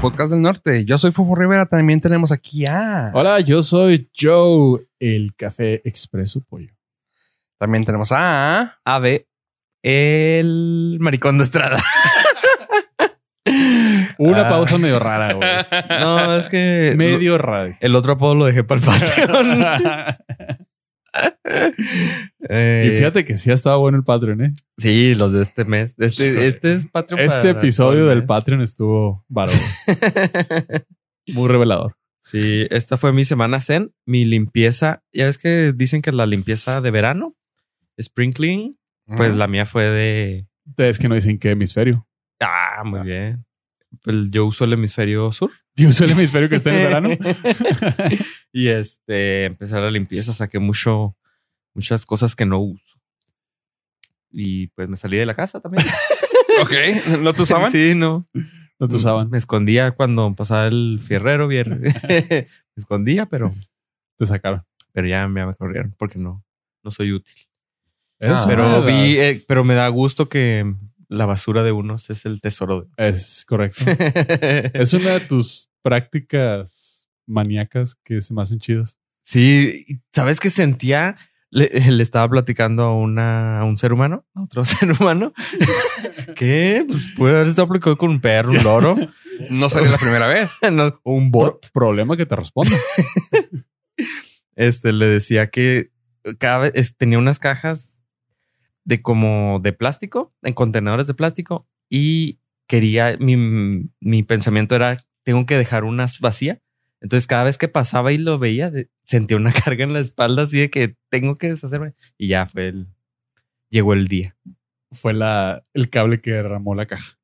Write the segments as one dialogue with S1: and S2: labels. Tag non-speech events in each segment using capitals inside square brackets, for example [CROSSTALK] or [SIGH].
S1: Podcast del Norte. Yo soy Fofo Rivera. También tenemos aquí a.
S2: Hola, yo soy Joe, el café expreso pollo.
S1: También tenemos a.
S3: Ave, el maricón de Estrada.
S2: Una
S3: Ah.
S2: pausa medio rara, güey.
S3: No, es
S1: eh,
S3: que
S2: medio rara.
S3: el otro apodo lo dejé para el [LAUGHS] Patreon.
S2: [LAUGHS] y
S3: Eh,
S2: fíjate que sí ha estado bueno el Patreon, ¿eh?
S3: Sí, los de este mes. Este, este es Patreon.
S2: Este
S3: para-
S2: episodio
S3: para
S2: del
S3: mes.
S2: Patreon estuvo bárbaro. Muy revelador.
S3: [LAUGHS] sí, esta fue mi semana zen, mi limpieza. Ya ves que dicen que la limpieza de verano, spring clean, pues la mía fue de...
S2: Es que no dicen qué hemisferio.
S3: Ah, muy bien. Pues yo uso el hemisferio sur.
S2: Yo uso el hemisferio que está en el verano.
S3: y este, empecé la limpieza, saqué mucho, muchas cosas que no uso. Y pues me salí de la casa [LAUGHS] también.
S1: Ok. ¿No te usaban?
S3: Sí, no.
S2: No te usaban.
S3: Me escondía cuando pasaba el fierrero viernes. [LAUGHS] me escondía, pero,
S2: Te sacaron.
S3: pero ya, me- ya me corrieron porque no, no soy útil.
S2: Eso
S1: Ah,
S3: Pero
S2: nada.
S3: vi, eh, pero me da gusto que la basura de [LAUGHS] unos es el tesoro
S2: Es correcto.
S3: de.
S2: Es una de tus prácticas maníacas que se me hacen chidas.
S3: Sí, y ¿sabes qué sentía? Le, [LAUGHS] le estaba platicando a, una, a un ser humano, a otro [LAUGHS] ser humano, que pues, puede haber estado platicando con un perro, un loro,
S1: No salió la primera
S2: [LAUGHS]
S1: vez.
S3: no, o un
S2: Por
S3: bot.
S2: problema que te respondo.
S3: Este le decía que cada vez es- tenía unas cajas de como de plástico, en contenedores de plástico, y quería, mi, mi pensamiento era, tengo que dejar unas vacía. Entonces cada vez que pasaba y lo veía, de- sentía una [LAUGHS] carga en la espalda así de que tengo que deshacerme. Y ya fue el, llegó el día.
S2: Fue la, el cable que derramó la caja.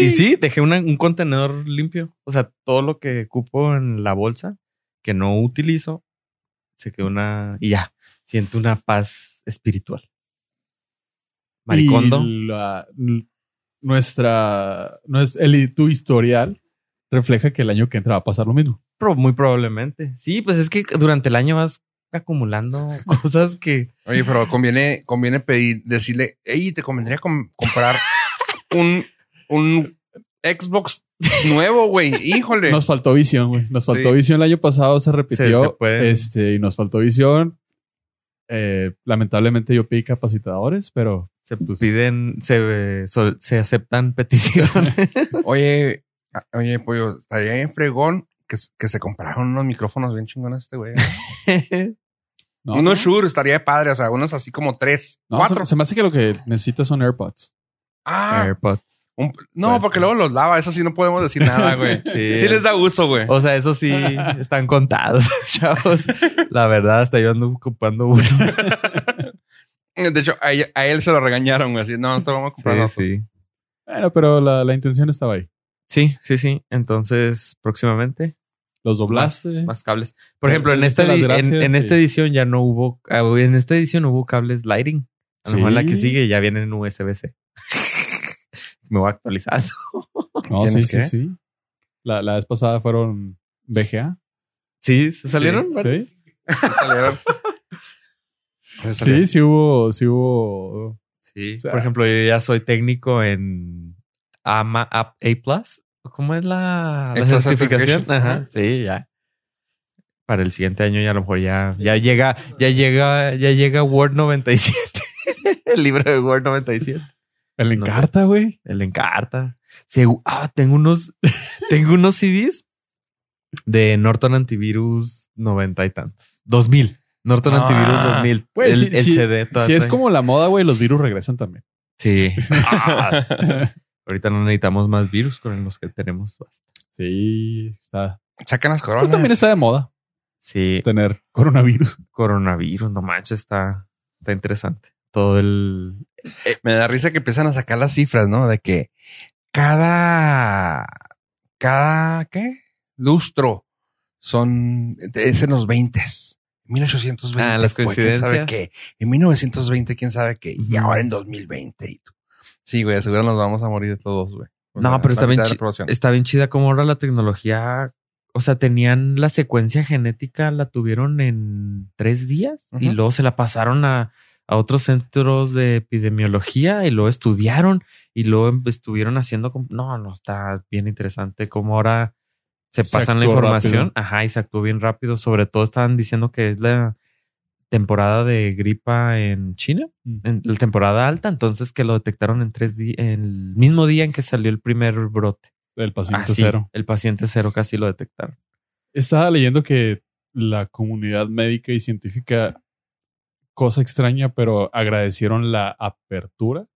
S3: Y sí, dejé una- un contenedor limpio. O sea, todo lo que ocupo en la bolsa que no utilizo, se quedó una... Y ya, siento una paz espiritual. Maricondo.
S2: Y la- n- nuestra, nues- el, tu historial refleja que el año que entra va a pasar lo mismo.
S3: Pro- muy probablemente. Sí, pues es que durante el año vas acumulando cosas que...
S1: Oye, pero conviene, conviene pedir, decirle, hey, te convendría com- comprar un, un Xbox nuevo, güey. Híjole.
S2: Nos faltó visión, güey. Nos faltó
S1: Sí.
S2: visión el año pasado, se
S3: se
S2: repitió.
S3: puede.
S2: este, y nos faltó visión. Eh, lamentablemente yo pedí capacitadores, pero
S3: Se
S2: Pues-
S3: piden, se, eh, sol- se aceptan peticiones.
S1: Oye, a- oye, pollo, estaría en fregón que, s- que se compraron unos micrófonos bien chingones este güey.
S2: no,
S1: unos Shure estaría de padre, o sea, unos así como tres,
S2: No, se-
S1: cuatro.
S2: Se, me hace que lo que necesitas son AirPods. Eh,
S1: ah,
S3: AirPods.
S1: un- no,
S3: pues,
S1: porque
S3: sí.
S1: luego los lava, eso sí no podemos decir nada, güey.
S3: [LAUGHS] Sí.
S1: Sí les da uso, güey.
S3: O sea, eso sí están contados, [LAUGHS] chavos. La verdad, hasta yo ando ocupando uno.
S1: De hecho, a, ella- a él se lo regañaron, güey. Así, no, no te lo vamos a comprar. nosotros".
S3: sí.
S2: Bueno, pero la, la intención estaba ahí.
S3: Sí, sí, sí. Entonces, próximamente,
S2: Los doblaste.
S3: más cables. Por
S2: Eh,
S3: ejemplo, en,
S2: diste
S3: esta
S2: las
S3: di-
S2: gracias
S3: en, en
S2: y-
S3: esta edición ya no hubo, ah, en esta edición hubo cables lighting. A lo mejor en la que
S2: Sí.
S3: sigue ya vienen USB-C. [LAUGHS] Me voy actualizando.
S2: No, sí,
S1: ¿Tienes
S2: sí,
S1: qué?
S2: sí. La, la vez pasada fueron BGA.
S3: [LAUGHS] ¿Sí? ¿Se salieron?
S2: Sí.
S1: Salieron. Se salieron.
S2: Sí, sí hubo, sí hubo.
S3: Sí.
S2: O sea-
S3: Por ejemplo, yo ya soy técnico en AMA, A, A+. ¿Cómo es la, la
S1: A+
S3: certificación?
S1: certification. Ajá.
S3: Ajá. Sí, ya. Para el siguiente año ya a lo mejor ya, ya llega, ya llega, ya llega Word 97. [LAUGHS] el libro de Word 97.
S2: El
S3: No sé.
S2: encarta, güey.
S3: El Encarta. Segu- ah, tengo unos, [LAUGHS] tengo unos CDs de Norton Antivirus 90 y tantos. 2000. Norton
S1: Ah,
S3: Antivirus 2000.
S2: güey, pues
S3: el,
S2: sí,
S3: el
S2: sí,
S3: CD. todo
S2: Si es
S3: trae.
S2: como la moda, güey, los virus regresan también.
S3: [LAUGHS] Sí.
S1: Pues,
S3: [LAUGHS] Ah, ahorita no necesitamos más virus con los que tenemos.
S2: sí, está.
S1: Sacan las coronas.
S2: Pues también está de moda
S3: Sí.
S2: tener coronavirus.
S3: Coronavirus, no manches, está, está interesante. Todo el...
S1: Me da risa que empiezan a sacar las cifras, ¿no? De que cada. Cada. ¿Qué? Lustro. Son. Es en los 20. 1820.
S3: Ah, las
S1: fue, ¿Quién sabe
S3: coincidencias.
S1: qué? En 1920, ¿quién sabe qué? Y
S3: Ujú.
S1: ahora en 2020. y tú. Sí, güey, seguro nos vamos a morir de todos, güey. O
S3: No,
S1: sea,
S3: pero está
S1: la
S3: bien
S1: mitad de la
S3: chi-
S1: población.
S3: Está bien chida como ahora la tecnología... O sea, tenían la secuencia genética, la tuvieron en tres días y
S1: Ujú.
S3: luego se la pasaron a, a otros centros de epidemiología y lo estudiaron y luego em, estuvieron haciendo. como- No, no, está bien interesante cómo ahora se
S2: Se
S3: pasan la
S2: actuó
S3: información.
S2: rápido.
S3: Ajá, y se actuó bien rápido. Sobre todo estaban diciendo que es la temporada de gripa en China, en la temporada alta, entonces que lo detectaron en tres días, el mismo día en que salió el primer brote.
S2: El paciente
S3: Así,
S2: cero.
S3: Ah, El paciente cero casi lo detectaron.
S2: Estaba leyendo que la comunidad médica y científica, cosa extraña, pero agradecieron la apertura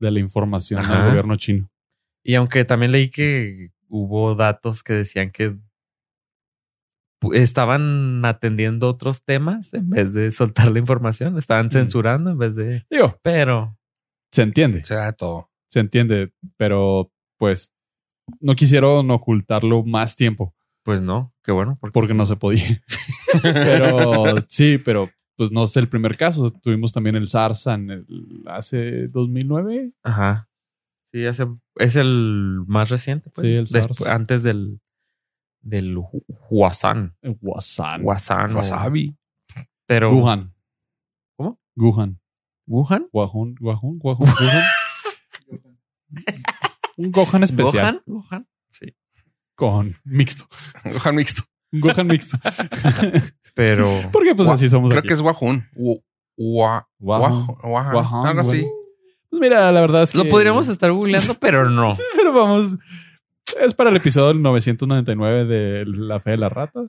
S2: de la información
S3: Ajá.
S2: al gobierno chino.
S3: Y aunque también leí que hubo datos que decían que pu- estaban atendiendo otros temas en vez de soltar la información,
S2: Mm.
S3: estaban censurando en vez de...
S2: Digo,
S3: Pero...
S2: se entiende,
S1: Se da de todo.
S2: se entiende, pero pues no quisieron ocultarlo más tiempo
S3: Pues no, qué bueno. Porque,
S2: porque no se podía. [LAUGHS] pero sí, pero pues no es el primer caso. Tuvimos también el SARS en el- hace 2009.
S3: Ajá. Sí, hace- es el más reciente. Pues.
S2: Sí, el
S3: Despu-
S2: SARS.
S3: Antes del... Del Hu- Huasan.
S2: en Wuhan.
S3: Huasan. o-
S1: Wasabi. [LAUGHS]
S3: Pero...
S2: Wuhan.
S3: ¿Cómo?
S2: Wuhan.
S3: ¿Wuhan?
S2: Guajón, guajón, guajón, guajón. Un Gohan especial.
S3: ¿Gohan? ¿Gohan? Sí.
S2: Con mixto.
S1: Gohan mixto.
S2: Un Gohan mixto. [LAUGHS]
S3: Pero...
S2: Porque pues
S1: Gua-
S2: así somos
S1: Creo
S2: aquí.
S1: que es Guajun. Gu- Gua-
S2: Guajón.
S1: Guajun. Guajun.
S2: Guajón,
S1: Algo así.
S2: güey. Pues mira, la verdad es que...
S3: Lo podríamos estar googleando, pero no.
S2: Pero vamos... Es para el episodio 999 de La Fe de la Rata.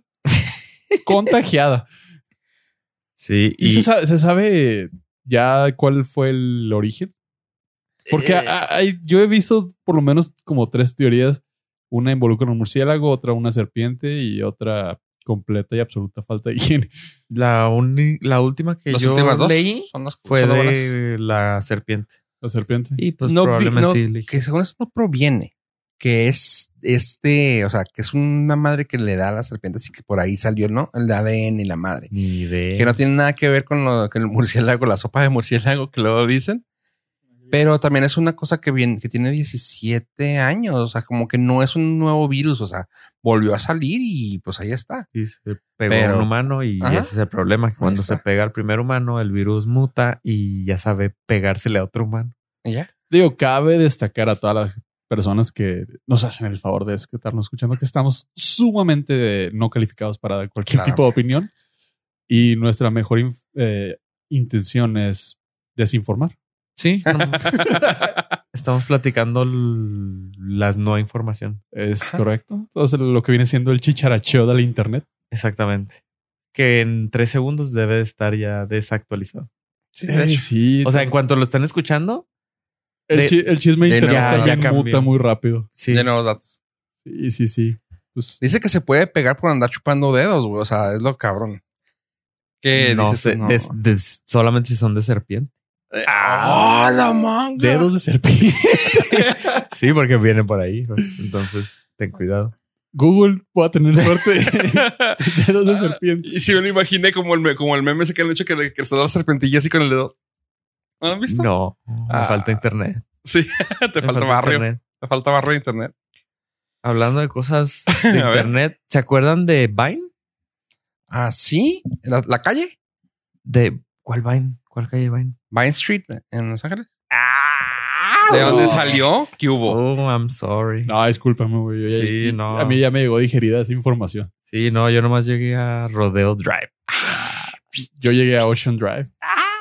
S2: Contagiada.
S3: Sí,
S2: ¿Y, se, sa- se sabe ya cuál fue el origen? Porque
S3: Eh.
S2: a- a- hay- yo he visto por lo menos como tres teorías. Una involucra un murciélago, otra una serpiente y otra completa y absoluta falta de higiene.
S3: La, uni- la última que
S1: Las
S3: yo
S1: últimas dos
S3: leí
S1: son las
S3: fue
S1: son las
S3: de la serpiente.
S2: La serpiente.
S3: Y pues
S1: No vi-
S3: probablemente
S1: no-
S3: le-
S1: que según eso no proviene, que es este, o sea, que es una madre que le da a la serpiente, así que por ahí salió, ¿no? El ADN y la madre.
S3: ni idea.
S1: Que no tiene nada que ver con lo que el murciélago, la sopa de murciélago que luego dicen. Pero también es una cosa que viene, que tiene 17 años, o sea, como que no es un nuevo virus, o sea, volvió a salir y pues ahí está.
S3: Y se pegó a
S1: Pero-
S3: un humano y
S1: Ajá.
S3: ese es el problema. que
S1: Ahí
S3: Cuando
S1: está.
S3: se pega al primer humano, el virus muta y ya sabe pegársele a otro humano.
S1: Y ya.
S2: Digo, cabe destacar a todas las personas que nos hacen el favor de estarnos escuchando que estamos sumamente eh, no calificados para dar cualquier
S1: Claro.
S2: tipo de opinión. Y nuestra mejor in- eh, intención es desinformar.
S3: Sí.
S1: [LAUGHS]
S3: Estamos platicando l- las no información.
S2: Es
S1: Ajá.
S2: correcto. Entonces, lo que viene siendo el chicharacheo del internet.
S3: Exactamente. Que en tres segundos debe de estar ya desactualizado.
S1: Sí,
S2: Eh,
S1: de hecho.
S2: sí.
S3: O sea, en cuanto lo están escuchando,
S2: el,
S3: de-
S2: chi- el chisme
S1: de
S2: internet
S1: nuevo. Ya-
S2: también
S3: ya cambió.
S2: muta muy rápido.
S3: sí.
S1: De nuevos datos.
S2: Sí, sí, sí. Pues,
S1: Dice que se puede pegar por andar chupando dedos, güey. O sea, es lo cabrón. Que
S3: no
S1: dices tú,
S3: sé,
S1: no.
S3: des- des- solamente si son de serpiente.
S1: Eh, ¡Ah, la manga!
S2: dedos de serpiente. [LAUGHS]
S3: Sí, porque viene por ahí. ¿no? Entonces, ten cuidado.
S2: Google, voy a tener suerte. [LAUGHS] dedos de serpiente.
S1: [LAUGHS] Y si me lo imaginé como el, me- como el meme ese que han hecho que, le- que está la serpentilla así con el dedo. ¿No lo han visto?
S3: No, me
S1: Ah,
S3: falta internet.
S1: Sí, [LAUGHS] te
S3: Me
S1: falta barrio.
S3: internet.
S1: Te falta barrio de internet.
S3: Hablando
S1: [LAUGHS]
S3: de cosas
S1: A
S3: de
S1: ver.
S3: internet, ¿se acuerdan de Vine?
S1: Ah, sí. ¿La, la calle?
S3: De ¿cuál Vine? ¿Cuál calle Vine?
S1: Vine Street en Los Ángeles.
S3: Ah,
S1: ¿De
S2: no.
S1: dónde salió? ¿Qué hubo?
S3: Oh, I'm sorry.
S2: No, discúlpame, güey. yo ya-
S3: Sí, no.
S2: A mí ya me llegó digerida esa información.
S3: Sí, no, yo nomás llegué a Rodeo Drive.
S2: Yo llegué a Ocean Drive,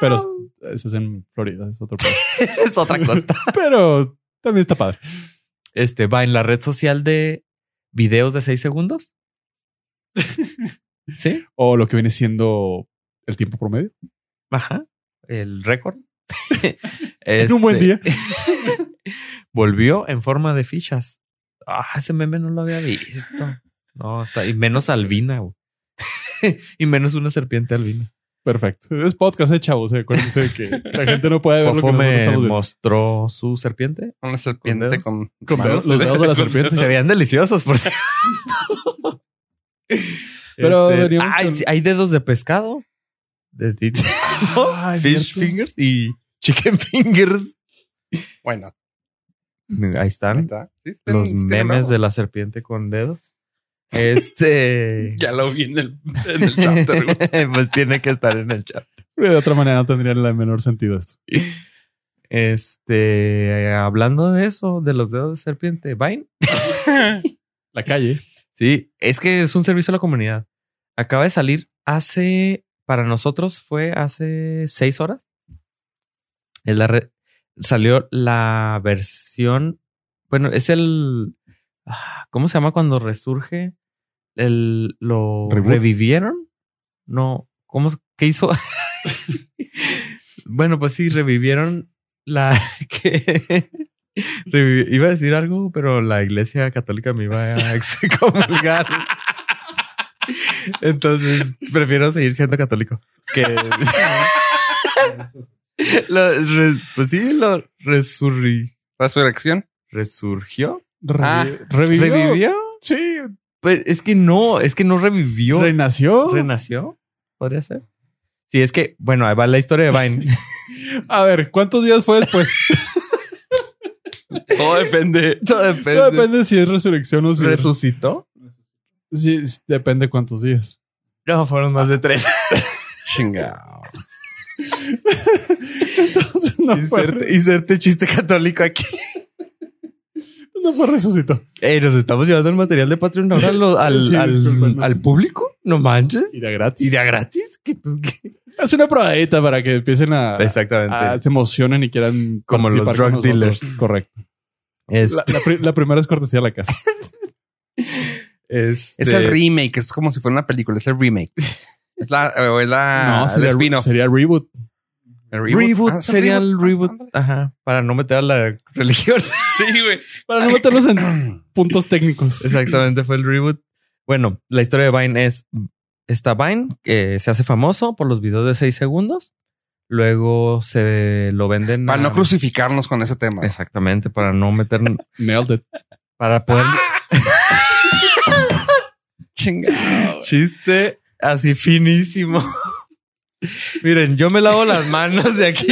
S2: pero eso es en Florida, es otro país.
S3: [LAUGHS] es otra cosa.
S2: pero también está padre.
S3: Este Vine, la red social de videos de seis segundos. [LAUGHS] sí,
S2: O lo que viene siendo el tiempo promedio.
S3: ajá. El récord.
S2: [LAUGHS] En un buen
S3: Este-
S2: día.
S3: [LAUGHS] volvió en forma de fichas. Ah, ese meme no lo había visto. No, está. Y menos albina, güey. [LAUGHS] y menos una serpiente albina.
S2: Perfecto. Es podcast, eh, chavos. eh, Acuérdense de que la gente no puede ver lo que
S3: Fofo
S2: nosotros
S3: me
S2: estamos viendo.
S3: mostró su serpiente.
S1: Una serpiente
S3: dedos?
S1: con,
S2: Con
S1: manos.
S2: dedos- los
S3: [LAUGHS]
S2: dedos
S1: [LAUGHS]
S2: de la serpiente.
S3: Se veían deliciosos, por cierto.
S2: [LAUGHS] Pero veníamos
S3: hay,
S2: con-
S3: Este, hay dedos de pescado. De ti- [LAUGHS]
S2: Ah, es
S3: Fish
S2: cierto.
S3: fingers y chicken fingers.
S1: Bueno,
S3: Ahí están.
S1: ahí está. Sí, tienen-
S3: Los
S1: sí tienen
S3: memes
S1: algo.
S3: de la serpiente con dedos. Este.
S1: [LAUGHS] Ya lo vi en el, en el chapter. güey.
S3: [LAUGHS] pues tiene que estar en el chat.
S2: De otra manera no tendría el menor sentido esto.
S3: Este, hablando de eso, de los dedos de serpiente, Vine.
S1: [LAUGHS]
S2: La calle.
S3: Sí, es que es un servicio a la comunidad. Acaba de salir hace, para nosotros fue hace seis horas. Es la re- salió la versión, bueno, es el, ah, ¿cómo se llama cuando resurge? El, ¿Lo
S2: Reboot.
S3: revivieron? No, ¿cómo, se- qué hizo? [LAUGHS] bueno, pues sí, revivieron la [LAUGHS] que... revivi- Iba a decir algo, pero la iglesia católica me iba a [LAUGHS] excomulgar. Entonces, prefiero seguir siendo católico. [LAUGHS] Que... Lo re- pues sí, lo resurri-
S1: Resurrección.
S3: resurgió.
S2: Revi-
S1: Ah,
S2: revivió.
S3: ¿Revivió?
S2: Sí.
S3: Pues es que no, es que no revivió.
S2: Renació.
S3: ¿Renació? ¿Podría ser? Sí, es que, bueno, ahí va la historia de [LAUGHS] Vine.
S2: a ver, ¿cuántos días fue después?
S1: Todo depende.
S3: Todo [LAUGHS] depende.
S2: No depende si es resurrección o si es-
S3: ¿Resucitó?
S2: Sí, es- depende cuántos días. [LAUGHS]
S3: No, fueron más de tres. [LAUGHS]
S1: Chingado.
S2: Entonces no fue,
S3: Inserte, inserte chiste católico aquí.
S2: no fue resucitó.
S3: Ey, nos estamos llevando el material de Patreon ahora lo- al,
S2: Sí,
S3: al,
S2: discúlpenos.
S3: al público. No manches.
S2: Y de gratis.
S3: ¿Y de a gratis? ¿Qué- qué?
S2: Es una probadita para que empiecen a,
S3: Exactamente.
S2: a- se emocionen y quieran
S3: Como los
S2: participar con
S3: drug
S2: nosotros.
S3: dealers.
S2: Correcto.
S3: Este-
S2: La, la pri- la primera es cortesía de la casa.
S3: este-
S1: Es el remake, es como si fuera una película, es el remake. Es la, o es
S3: Ah,
S1: la
S2: no,
S1: el
S2: sería,
S1: spin-off.
S2: sería reboot.
S1: El
S3: Reboot,
S1: Ah, ¿es un
S3: sería el reboot.
S1: Ah,
S3: Ajá. Para no meter a la [LAUGHS] religión.
S1: ándale. Sí, güey.
S2: Para no meterlos
S3: [LAUGHS]
S2: en puntos técnicos.
S3: Exactamente, fue el reboot. Bueno, la historia de Vine es: está Vine, que se hace famoso por los videos de 6 segundos. Luego se lo venden.
S1: Para
S3: a-
S1: no crucificarnos con ese tema.
S3: Exactamente, para no meter.
S2: Nailed it.
S3: para poder.
S1: Ah, [LAUGHS] Chingado.
S3: Chiste así finísimo. [LAUGHS] Miren, yo me lavo las manos de
S1: [LAUGHS]
S3: aquí.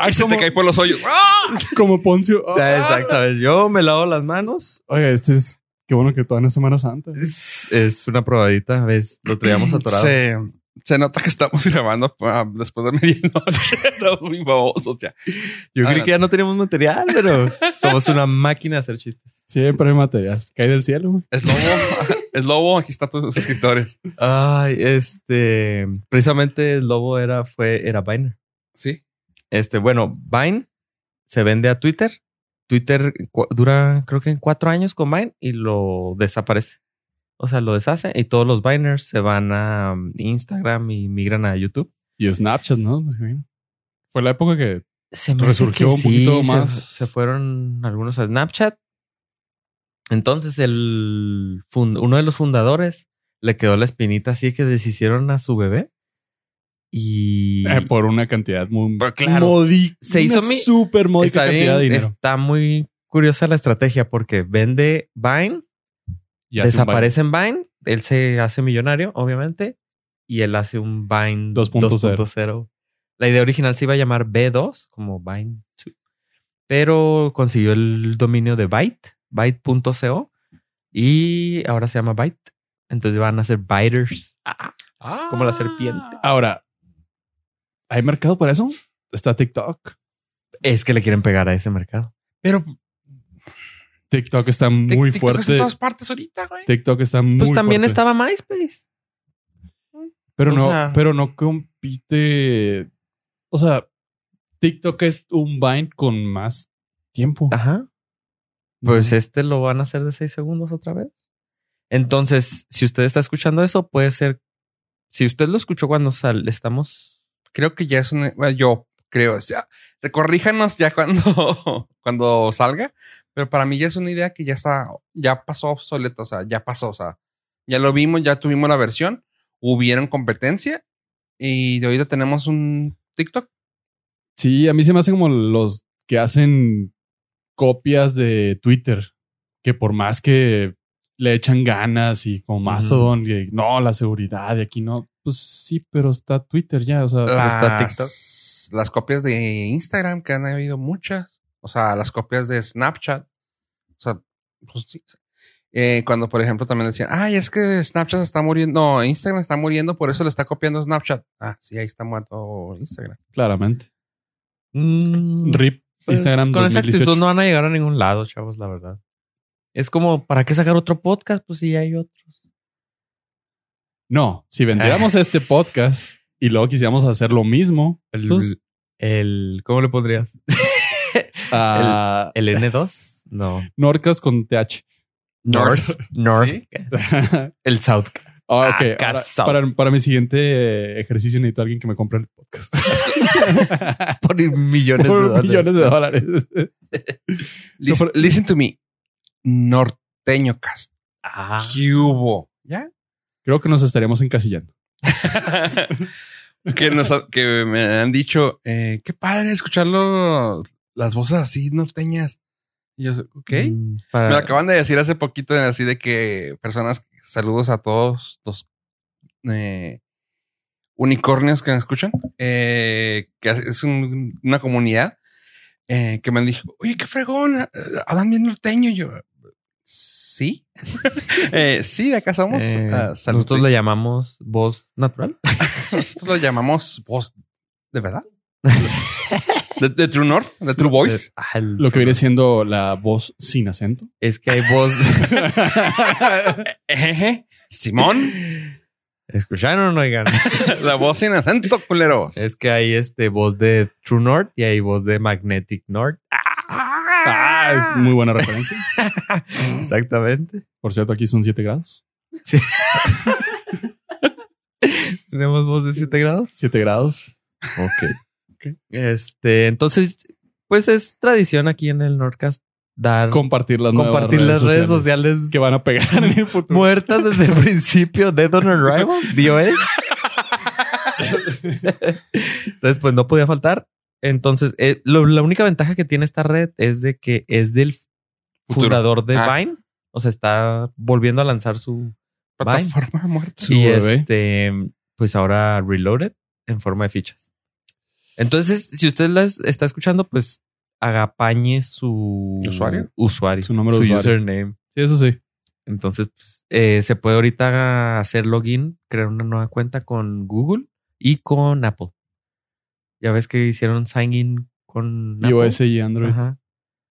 S2: Ay,
S1: Y se
S2: como,
S1: te cae por los hoyos. ¡Ah!
S2: como
S3: [LAUGHS]
S2: Poncio. Ah.
S3: Exactamente, yo me lavo las manos.
S2: Oiga, este es. Qué bueno que todavía no es Semana Santa.
S3: Es, es una probadita, ¿ves? Lo traíamos atorado.
S1: Se, se nota que estamos [LAUGHS] grabando ah, después de medianoche. [LAUGHS] Estamos muy babosos ya.
S3: Yo creí
S1: Adelante.
S3: que ya no teníamos material, pero [LAUGHS] somos una máquina de hacer chistes.
S2: Siempre hay material. Cae del cielo. güey.
S1: Es lobo. [LAUGHS] es lobo. Aquí están todos los escritores.
S3: Ay, este, precisamente el lobo era, fue, era Vine.
S1: Sí.
S3: Este, bueno, Vine se vende a Twitter. Twitter cu- dura, creo que en cuatro años con Vine y lo desaparece. O sea, lo deshace y todos los Viners se van a um, Instagram y migran a YouTube.
S2: Y Snapchat, ¿no? Me imagino. Fue la época que
S3: Se
S2: me hace Resurgió que un poquito
S3: se-
S2: más.
S3: Se, fueron algunos a Snapchat. Entonces, el fun- uno de los fundadores le quedó la espinita así que deshicieron a su bebé. Y
S2: eh, por una cantidad muy
S3: Pero claro,
S2: modi-
S3: se hizo
S2: una
S3: mi-
S2: súper módica
S3: está,
S2: cantidad
S3: bien,
S2: de dinero.
S3: está muy curiosa la estrategia porque vende Vine,
S2: Y hace un
S3: desaparece en Vine, él se hace millonario, obviamente, y él hace un Vine
S2: 2.0.
S3: 2.0. La idea original se iba a llamar B2, como Vine 2, pero consiguió el dominio de Byte, Byte.co, y ahora se llama Byte. Entonces van a ser Biters. Ah, Como la serpiente.
S2: baile. Ahora, ¿hay mercado para eso? Está TikTok.
S3: es que le quieren pegar a ese mercado.
S1: Pero
S2: TikTok está
S1: tic-
S2: muy
S1: TikTok está
S2: fuerte.
S1: en todas partes ahorita, güey.
S2: TikTok está muy
S3: Pues también
S2: fuerte.
S3: estaba MySpace.
S2: Pero
S3: o
S2: no,
S3: sea-
S2: pero no compite. O sea, TikTok es un Vine con más tiempo.
S3: Ajá. Pues este lo van a hacer de 6 segundos otra vez. Entonces, si usted está escuchando eso, puede ser. Si usted lo escuchó cuando sal, estamos.
S1: Creo que ya es un. bueno, yo creo. O sea, recorríjanos ya cuando, [LAUGHS] cuando salga. Pero para mí ya es una idea que ya está. Ya pasó obsoleta. O sea, ya pasó. O sea, ya lo vimos, ya tuvimos la versión. Hubieron competencia. Y de ahorita tenemos un TikTok.
S2: Sí, a mí se me hacen como los que hacen copias de Twitter, que por más que le echan ganas y como Mastodon, y no, la seguridad y aquí no, pues sí, pero está Twitter ya, o sea,
S3: está
S1: Las, las copias de Instagram, que han habido muchas. O sea, las copias de Snapchat. O sea, pues sí. eh, cuando, por ejemplo, también decían, ay, es que Snapchat está muriendo, no, Instagram está muriendo, por eso le está copiando Snapchat. Ah, sí, ahí está muerto Instagram.
S2: claramente.
S3: Mm,
S2: RIP
S3: pues,
S2: Instagram
S3: con esa
S2: 2018.
S3: actitud no van a llegar a ningún lado, chavos, la verdad. Es como, ¿para qué sacar otro podcast? Pues si ya hay otros.
S2: No, si vendiéramos
S3: Ah.
S2: este podcast y luego quisiéramos hacer lo mismo, el,
S3: Pues, El, ¿Cómo le pondrías?
S2: ah,
S3: ¿El N2? No.
S2: Nordcast con
S3: [LAUGHS]
S2: TH.
S3: North.
S1: ¿Sí?
S3: El South.
S2: Ah, ok.
S3: Ah,
S2: Ahora,
S3: casado.
S2: para, para mi siguiente eh, ejercicio necesito a alguien que me compre el podcast.
S3: Por [LAUGHS] millones de
S2: Por
S3: dólares.
S2: millones de dólares. [LAUGHS]
S1: Lis-
S2: Super-
S1: Listen to me. Norteño cast.
S3: Ah.
S1: ¿Qué hubo? ¿Ya?
S2: Creo que nos estaremos encasillando.
S1: que, nos, ha- que me han dicho, eh, qué padre escucharlo, las voces así norteñas. Y yo, ok.
S3: Mm, para-
S1: Me lo acaban de decir hace poquito, así de que personas, saludos a todos los eh, unicornios que me escuchan, eh, que es un- una comunidad eh, que me dijo, oye, qué fregón, eh, hablan bien norteño. Y yo, sí, [LAUGHS] Eh, sí, de acá somos.
S3: Eh,
S1: Ah,
S3: nosotros
S1: saludos.
S3: le llamamos voz natural.
S1: Nosotros lo llamamos voz, ¿de verdad? de, de True North, de True
S3: [LAUGHS]
S1: Voice. [LAUGHS]
S3: Ah, el-
S2: Lo que viene siendo la voz sin acento.
S3: es que hay voz.
S2: [LAUGHS]
S1: Ejeje. Eh, Simón,
S3: ¿Escucharon, oigan?
S1: la voz sin acento, culeros.
S3: es que hay este voz de True North y hay voz de Magnetic North.
S2: Ah, es muy buena referencia.
S3: Exactamente.
S2: Por cierto, aquí son 7 grados.
S3: Tenemos voz de 7 grados.
S2: 7 grados.
S3: Ok. Este, entonces, pues es tradición aquí en el Nordcast dar
S2: Compartir las nuevas
S3: Ah. compartir las redes sociales,
S2: que van a pegar en el futuro.
S3: muertas desde el [LAUGHS] principio de Don Arrival, dio él. Entonces, pues no podía faltar. Entonces, eh, lo- la única ventaja que tiene esta red es de que es del
S1: Futuro.
S3: fundador de
S1: Ah.
S3: Vine. O sea, está volviendo a lanzar su
S1: Plataforma muerta.
S2: Su
S3: y
S2: bebé.
S3: este, pues ahora Reloaded en forma de fichas. Entonces, si usted las está escuchando, pues agapañe su
S1: ¿Usuario?
S3: usuario,
S2: Su número
S3: su
S2: de usuario.
S3: username.
S2: Sí, eso sí.
S3: Entonces, pues, eh, se puede ahorita hacer login, crear una nueva cuenta con Google y con Apple. Ya ves que hicieron sign in con Apple.
S2: iOS y Android.
S3: Ajá.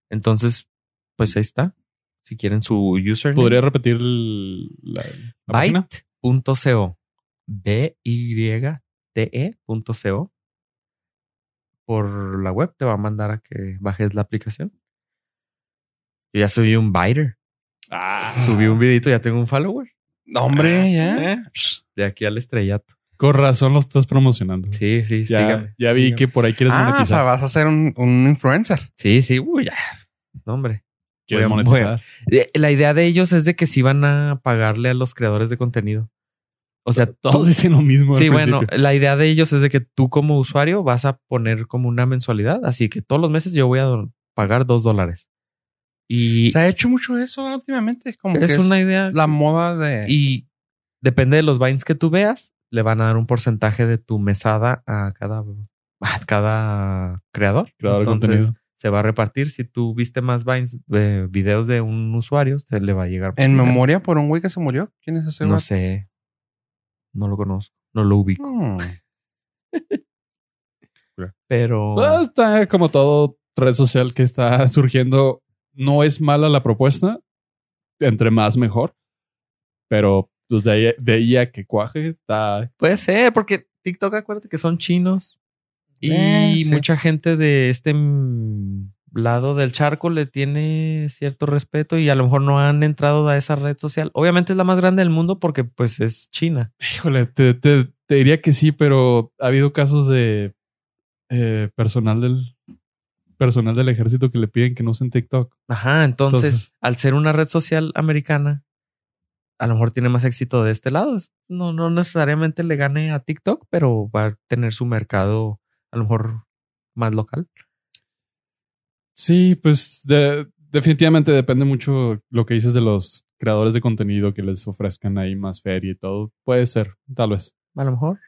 S3: Entonces, pues ahí está. Si quieren su username.
S2: ¿Podría repetir el- la, la página?
S3: Byte.co. B-Y-T-E.co. E Por la web te va a mandar a que bajes la aplicación. Yo ya subí un biter. Subí un videito, ya tengo un follower.
S1: No, hombre, ya.
S3: Ah. Eh, De aquí al estrellato.
S2: Con razón lo estás promocionando.
S3: Sí, sí,
S2: ya,
S3: sígame.
S2: ya vi
S3: sígame.
S2: que por ahí quieres
S1: Ah, o sea,
S2: monetizar.
S1: vas a ser un, un influencer.
S3: Sí, sí, uy, ya. No, hombre.
S2: Quieres
S3: Bueno,
S2: monetizar.
S3: Eh, La idea de ellos es de que sí van a pagarle a los creadores de contenido. O sea, tú-
S2: Todos dicen lo mismo. al
S3: Sí, bueno,
S2: principio.
S3: la idea de ellos es de que tú como usuario vas a poner como una mensualidad, así que todos los meses yo voy a do- pagar dos dólares. Y
S1: Se ha hecho mucho eso últimamente. Como que
S3: es
S1: es
S3: una idea.
S1: la moda de.
S3: Y depende de los vines que tú veas, le van a dar un porcentaje de tu mesada a cada, a cada creador.
S2: Creador de
S3: Entonces,
S2: contenido.
S3: Se va a repartir. Si tú viste más vines, eh, videos de un usuario, se le va a llegar.
S1: en
S3: porcentaje.
S1: memoria por un güey que se murió. ¿Quién es ese
S3: No
S1: güey?
S3: sé. No lo conozco. No lo ubico.
S1: Hmm.
S3: Pero.
S2: Pues, está como todo red social que está [LAUGHS] surgiendo. No es mala la propuesta. Entre más mejor. Pero pues, de, ahí, de ahí a que cuaje está.
S3: Puede ser, porque TikTok, acuérdate que son chinos. Y
S1: Eh, sí.
S3: mucha gente de este mm, lado del charco le tiene cierto respeto y a lo mejor no han entrado a esa red social. Obviamente es la más grande del mundo porque pues es China.
S2: Híjole, te, te- te diría que sí, pero ha habido casos de eh, personal del personal del ejército que le piden que no usen TikTok.
S3: Ajá, entonces,
S2: Entonces.
S3: al ser una red social americana, a lo mejor tiene más éxito de este lado. No, no necesariamente le gane a TikTok, pero va a tener su mercado a lo mejor más local.
S2: Sí, pues de- definitivamente depende mucho lo que dices de los creadores de contenido que les ofrezcan ahí más feria y todo. Puede ser, tal vez.
S3: A lo mejor.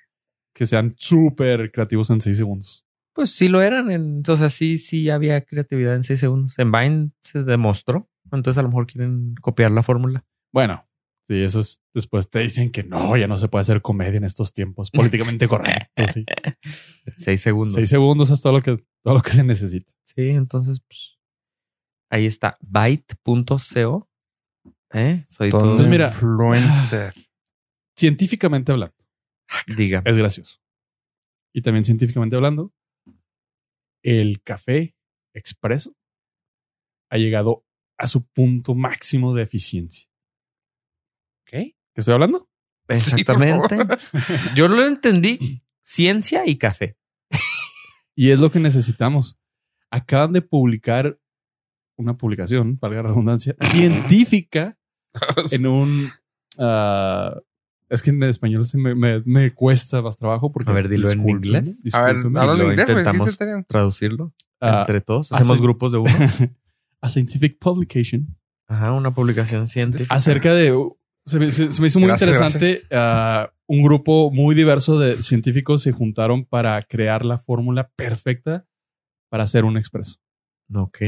S2: Que sean súper creativos en seis segundos.
S3: Pues sí lo eran. en- Entonces sí, sí había creatividad en seis segundos. En Vine se demostró. Entonces a lo mejor quieren copiar la fórmula.
S2: Bueno, sí, eso es. Después te dicen que no, ya no se puede hacer comedia en estos tiempos políticamente correctos. sí.
S3: Seis segundos.
S2: Seis segundos es todo lo que, todo lo que se necesita.
S3: Sí, entonces, pues. Ahí está, byte.co. ¿Eh? Soy
S1: Todo
S3: todo.
S2: Pues mira,
S1: influencer.
S2: Científicamente hablando,
S3: Diga.
S2: es [LAUGHS] gracioso. Y también científicamente hablando, el café expreso ha llegado a su punto máximo de eficiencia.
S1: ¿Qué?
S2: ¿Qué estoy hablando?
S3: Exactamente. Yo lo entendí. Ciencia y café.
S2: Y es lo que necesitamos. Acaban de publicar una publicación, valga la
S3: [LAUGHS]
S2: redundancia, científica en un... ah, es que en español se me, me- me cuesta más trabajo porque...
S3: A ver, dilo en
S2: discúlpenme,
S3: inglés.
S1: A ver,
S2: discúlpenme.
S1: habla
S3: Y lo
S1: en inglés, güey. ¿Qué
S3: intentamos.
S1: se te-
S3: Traducirlo
S2: Ah, [LAUGHS]
S3: entre todos.
S2: hace-
S3: Hacemos grupos de uno.
S2: a scientific publication
S3: Ajá, una publicación
S2: Este,
S3: científica.
S2: acerca de... Se me, se- se me hizo muy
S1: Gracias,
S2: interesante. ah, un grupo muy diverso de científicos se juntaron para crear la fórmula perfecta para hacer un expreso. ah,
S3: Ok.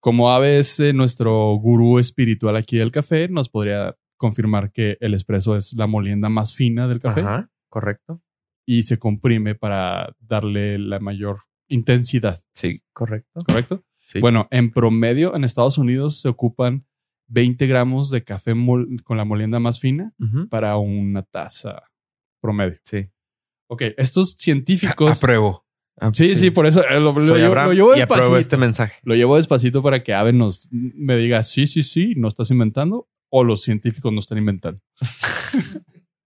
S2: Como a veces nuestro gurú espiritual aquí del café nos podría confirmar que el espresso es la molienda más fina del café
S3: Ajá, correcto.
S2: y se comprime para darle la mayor intensidad,
S3: Sí, correcto.
S2: ¿correcto?
S3: Sí.
S2: Bueno, en promedio en Estados Unidos se ocupan 20 gramos de café mol- con la molienda más fina
S3: Ujú.
S2: para una taza promedio.
S3: Sí.
S2: Ok, estos científicos...
S1: Apruebo.
S3: Ah,
S2: sí, sí, por eso eh, lo, lo
S3: Soy
S2: llevo-
S3: Abraham
S2: lo llevo
S3: y apruebo
S2: despacito.
S3: este mensaje.
S2: Lo llevo despacito para que Aven nos me diga, sí, sí, sí, no estás inventando o los científicos no están inventando.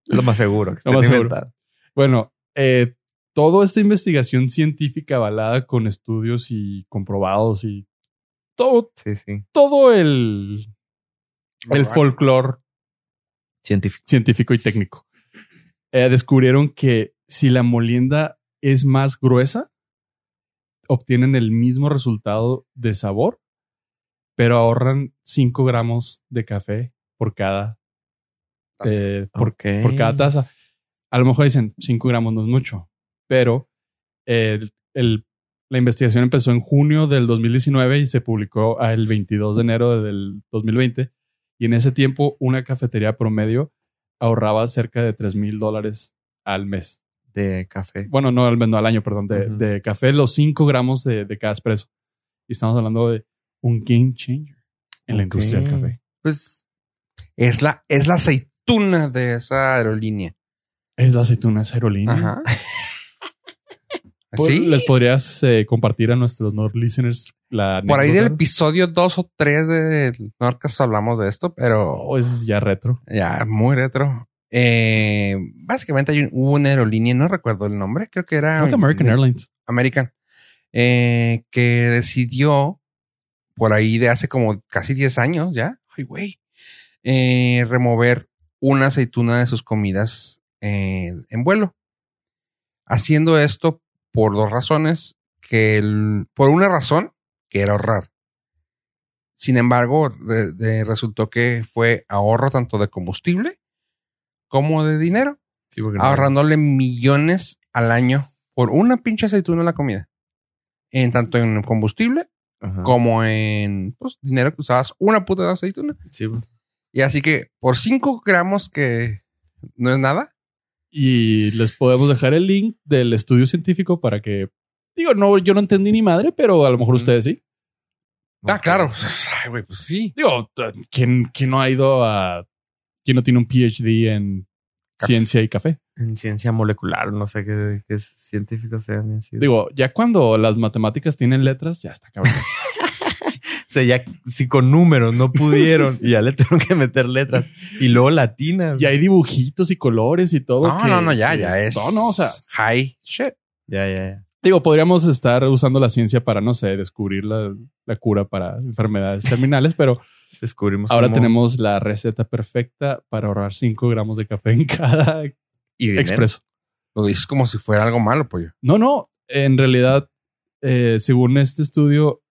S3: Lo más seguro. Que
S2: Lo más
S3: esté
S2: seguro.
S3: inventado.
S2: Bueno, eh, toda esta investigación científica avalada con estudios y comprobados y todo,
S3: Sí, sí.
S2: todo el, el folclore
S3: Científico.
S2: científico y técnico. Eh, descubrieron que si la molienda es más gruesa, obtienen el mismo resultado de sabor, pero ahorran 5 gramos de café por cada,
S1: Taza.
S2: eh, por,
S3: Ok.
S2: por cada taza. A lo mejor dicen 5 gramos no es mucho, pero el- el- la investigación empezó en junio del 2019 y se publicó el 22 de enero del 2020. Y en ese tiempo, una cafetería promedio ahorraba cerca de 3 mil dólares al mes.
S3: de café.
S2: Bueno, no al mes, no al año, perdón, de,
S3: Ujú.
S2: de café, los 5 gramos de, de cada espresso. Y estamos hablando de un game changer en la
S3: Ok.
S2: industria del café.
S1: Pues es la, es la aceituna de esa aerolínea.
S2: Es la aceituna, es aerolínea.
S1: Ajá.
S2: Por-
S1: ¿Sí?
S2: Pues, ¿Les podrías eh, compartir a nuestros Nord listeners la
S1: Por ahí del
S2: anécdota?
S1: episodio 2 o 3 del Norcas hablamos de esto, pero
S2: Oh, es ya retro.
S1: ya muy retro. Eh, básicamente hay un- hubo una aerolínea, no recuerdo el nombre, creo que era
S2: Creo que American
S1: de-
S2: Airlines.
S1: American, eh, que decidió por ahí de hace como casi 10 años ya, ay güey, eh, remover una aceituna de sus comidas eh, en vuelo. Haciendo esto por dos razones, que el- por una razón, que era ahorrar. Sin embargo, re- de- resultó que fue ahorro tanto de combustible como de dinero
S3: Sí, porque no-
S1: ahorrándole millones al año por una pinche aceituna a la comida. En tanto en combustible
S2: Ah.
S3: Ajá.
S1: como en pues, dinero que usabas una puta de aceituna.
S3: Sí, pues.
S1: Y así que por 5 gramos que no es nada.
S2: Y les podemos dejar el link del estudio científico para que. Digo, no, yo no entendí ni madre, pero a lo mejor
S1: Ujú.
S2: ustedes sí.
S1: Ah, claro. [LAUGHS] Ay, güey, pues sí.
S2: Digo, t- ¿quién, quién no ha ido a. ¿Quién no tiene un PhD en
S1: Café.
S2: ciencia y café?
S3: En ciencia molecular, no sé qué, qué científicos sean. en sí.
S2: Digo, ya cuando las matemáticas tienen letras, ya está
S1: [LAUGHS]
S2: cabrón.
S3: O sea, ya si con números no pudieron y ya le tuvieron que meter letras y luego latinas.
S2: y hay dibujitos y colores y todo.
S1: No,
S2: que-
S1: no, no, ya,
S2: que-
S1: ya es.
S2: No, no, o sea.
S1: High shit.
S3: Ya, ya, ya.
S2: Digo, podríamos estar usando la ciencia para, no sé, descubrir la, la cura para enfermedades terminales, pero
S3: [LAUGHS] Descubrimos.
S2: Ahora
S3: cómo-
S2: tenemos la receta perfecta para ahorrar 5 gramos de café en cada
S3: y dinero.
S2: expreso.
S1: Lo dices como si fuera algo malo, pollo.
S2: No, no. En realidad, eh, según este estudio,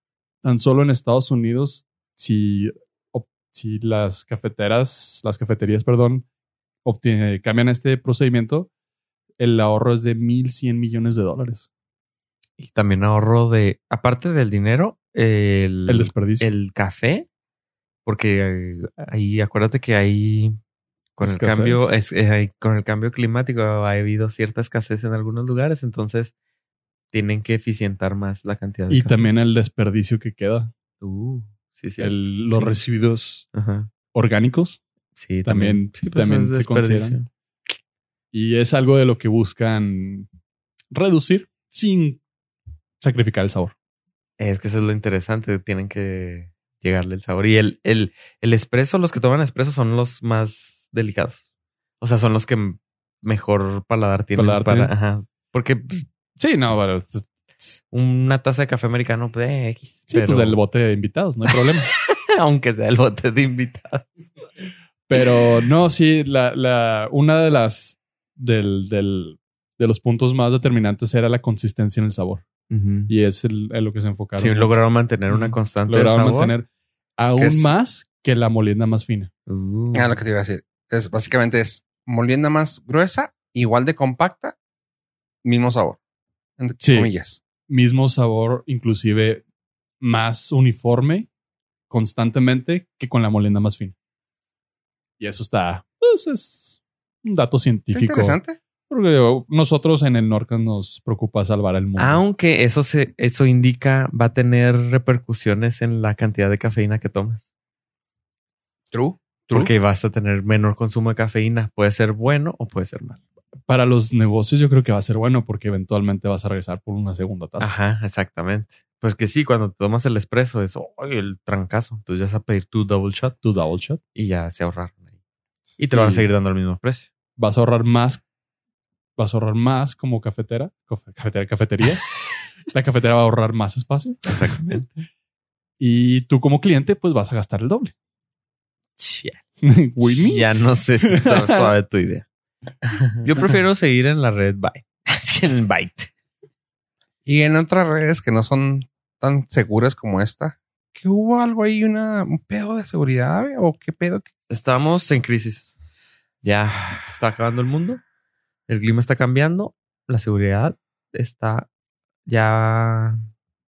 S2: tan solo en Estados Unidos, si, op- si las cafeteras, las cafeterías, perdón, obtiene- cambian este procedimiento, el ahorro es de 1.100 millones de dólares.
S3: Y también ahorro de, aparte del dinero, el,
S2: El desperdicio.
S3: el café Porque eh, ahí, acuérdate que ahí con el
S2: Escasez.
S3: cambio, es- es ahí, con el cambio climático ha habido cierta escasez en algunos lugares, entonces tienen que eficientar más la cantidad de
S2: Y
S3: cam-
S2: también el desperdicio que queda.
S3: Uh, sí, sí.
S2: el- los
S3: Sí.
S2: residuos
S3: Ajá.
S2: orgánicos.
S3: Sí,
S2: También-
S3: Sí, pues,
S2: también
S3: es
S2: se consideran.
S3: desperdicio.
S2: Y es algo de lo que buscan reducir sin sacrificar el sabor.
S3: Es que eso es lo interesante, tienen que llegarle el sabor. Y el, el, el espresso, los que toman espresso son los más delicados. O sea, son los que m- mejor paladar tienen.
S2: Paladar
S3: para-
S2: tienen.
S3: ajá. Porque
S2: Sí, no, bueno, sí,
S3: una taza de café americano, pues, eh, X. Pero-
S2: pues del bote de invitados, no hay problema.
S3: [LAUGHS] aunque sea el bote de invitado.
S2: Pero no, sí, la, la, una de las del, del, de los puntos más determinantes era la consistencia en el sabor. Y es el, en lo que se enfocaron.
S3: Sí,
S2: mucho.
S3: lograron mantener una
S2: Ujú.
S3: constante. de
S2: Lograron
S3: sabor.
S2: mantener aún
S1: es-
S2: más que la molienda más fina.
S3: Uh.
S1: Ah, lo que te iba a decir. Es, básicamente es molienda más gruesa, igual de compacta, mismo sabor. Entre
S2: Sí.
S1: comillas.
S2: Mismo sabor, inclusive más uniforme constantemente que con la molienda más fina. Y eso está, pues es un dato
S1: Está
S2: científico.
S1: interesante.
S2: Porque nosotros en el norte nos preocupa salvar el mundo.
S3: Aunque eso se, eso indica, va a tener repercusiones en la cantidad de cafeína que tomas.
S1: True. True.
S3: Porque vas a tener menor consumo de cafeína. Puede ser bueno o puede ser malo.
S2: para los negocios yo creo que va a ser bueno porque eventualmente vas a regresar por una segunda taza.
S1: Ah.
S3: Ajá, exactamente. Pues que sí, cuando te tomas el espresso es "Ay, el trancazo. Entonces ya vas a pedir tu double shot
S2: Tu double shot.
S3: y ya se ahorraron ahí. Y te lo van a seguir dando al mismo precio.
S2: Vas a ahorrar más. Vas a ahorrar más como cafetera. cof- Cafetera,
S3: [LAUGHS]
S2: cafetería. La cafetera va a ahorrar más espacio.
S3: Exactamente.
S2: Y tú como cliente, pues vas a gastar el doble. [LAUGHS] With me.
S3: Ya no sé si está
S2: [LAUGHS]
S3: suave tu idea. Yo prefiero seguir en la red Byte. [LAUGHS] en el Byte.
S1: Y en otras redes que no son tan seguras como esta, que hubo algo ahí, una, un pedo de seguridad, güey? o qué pedo. que-
S3: Estamos en crisis. Ya se está acabando el mundo. El clima está cambiando. La seguridad está ya.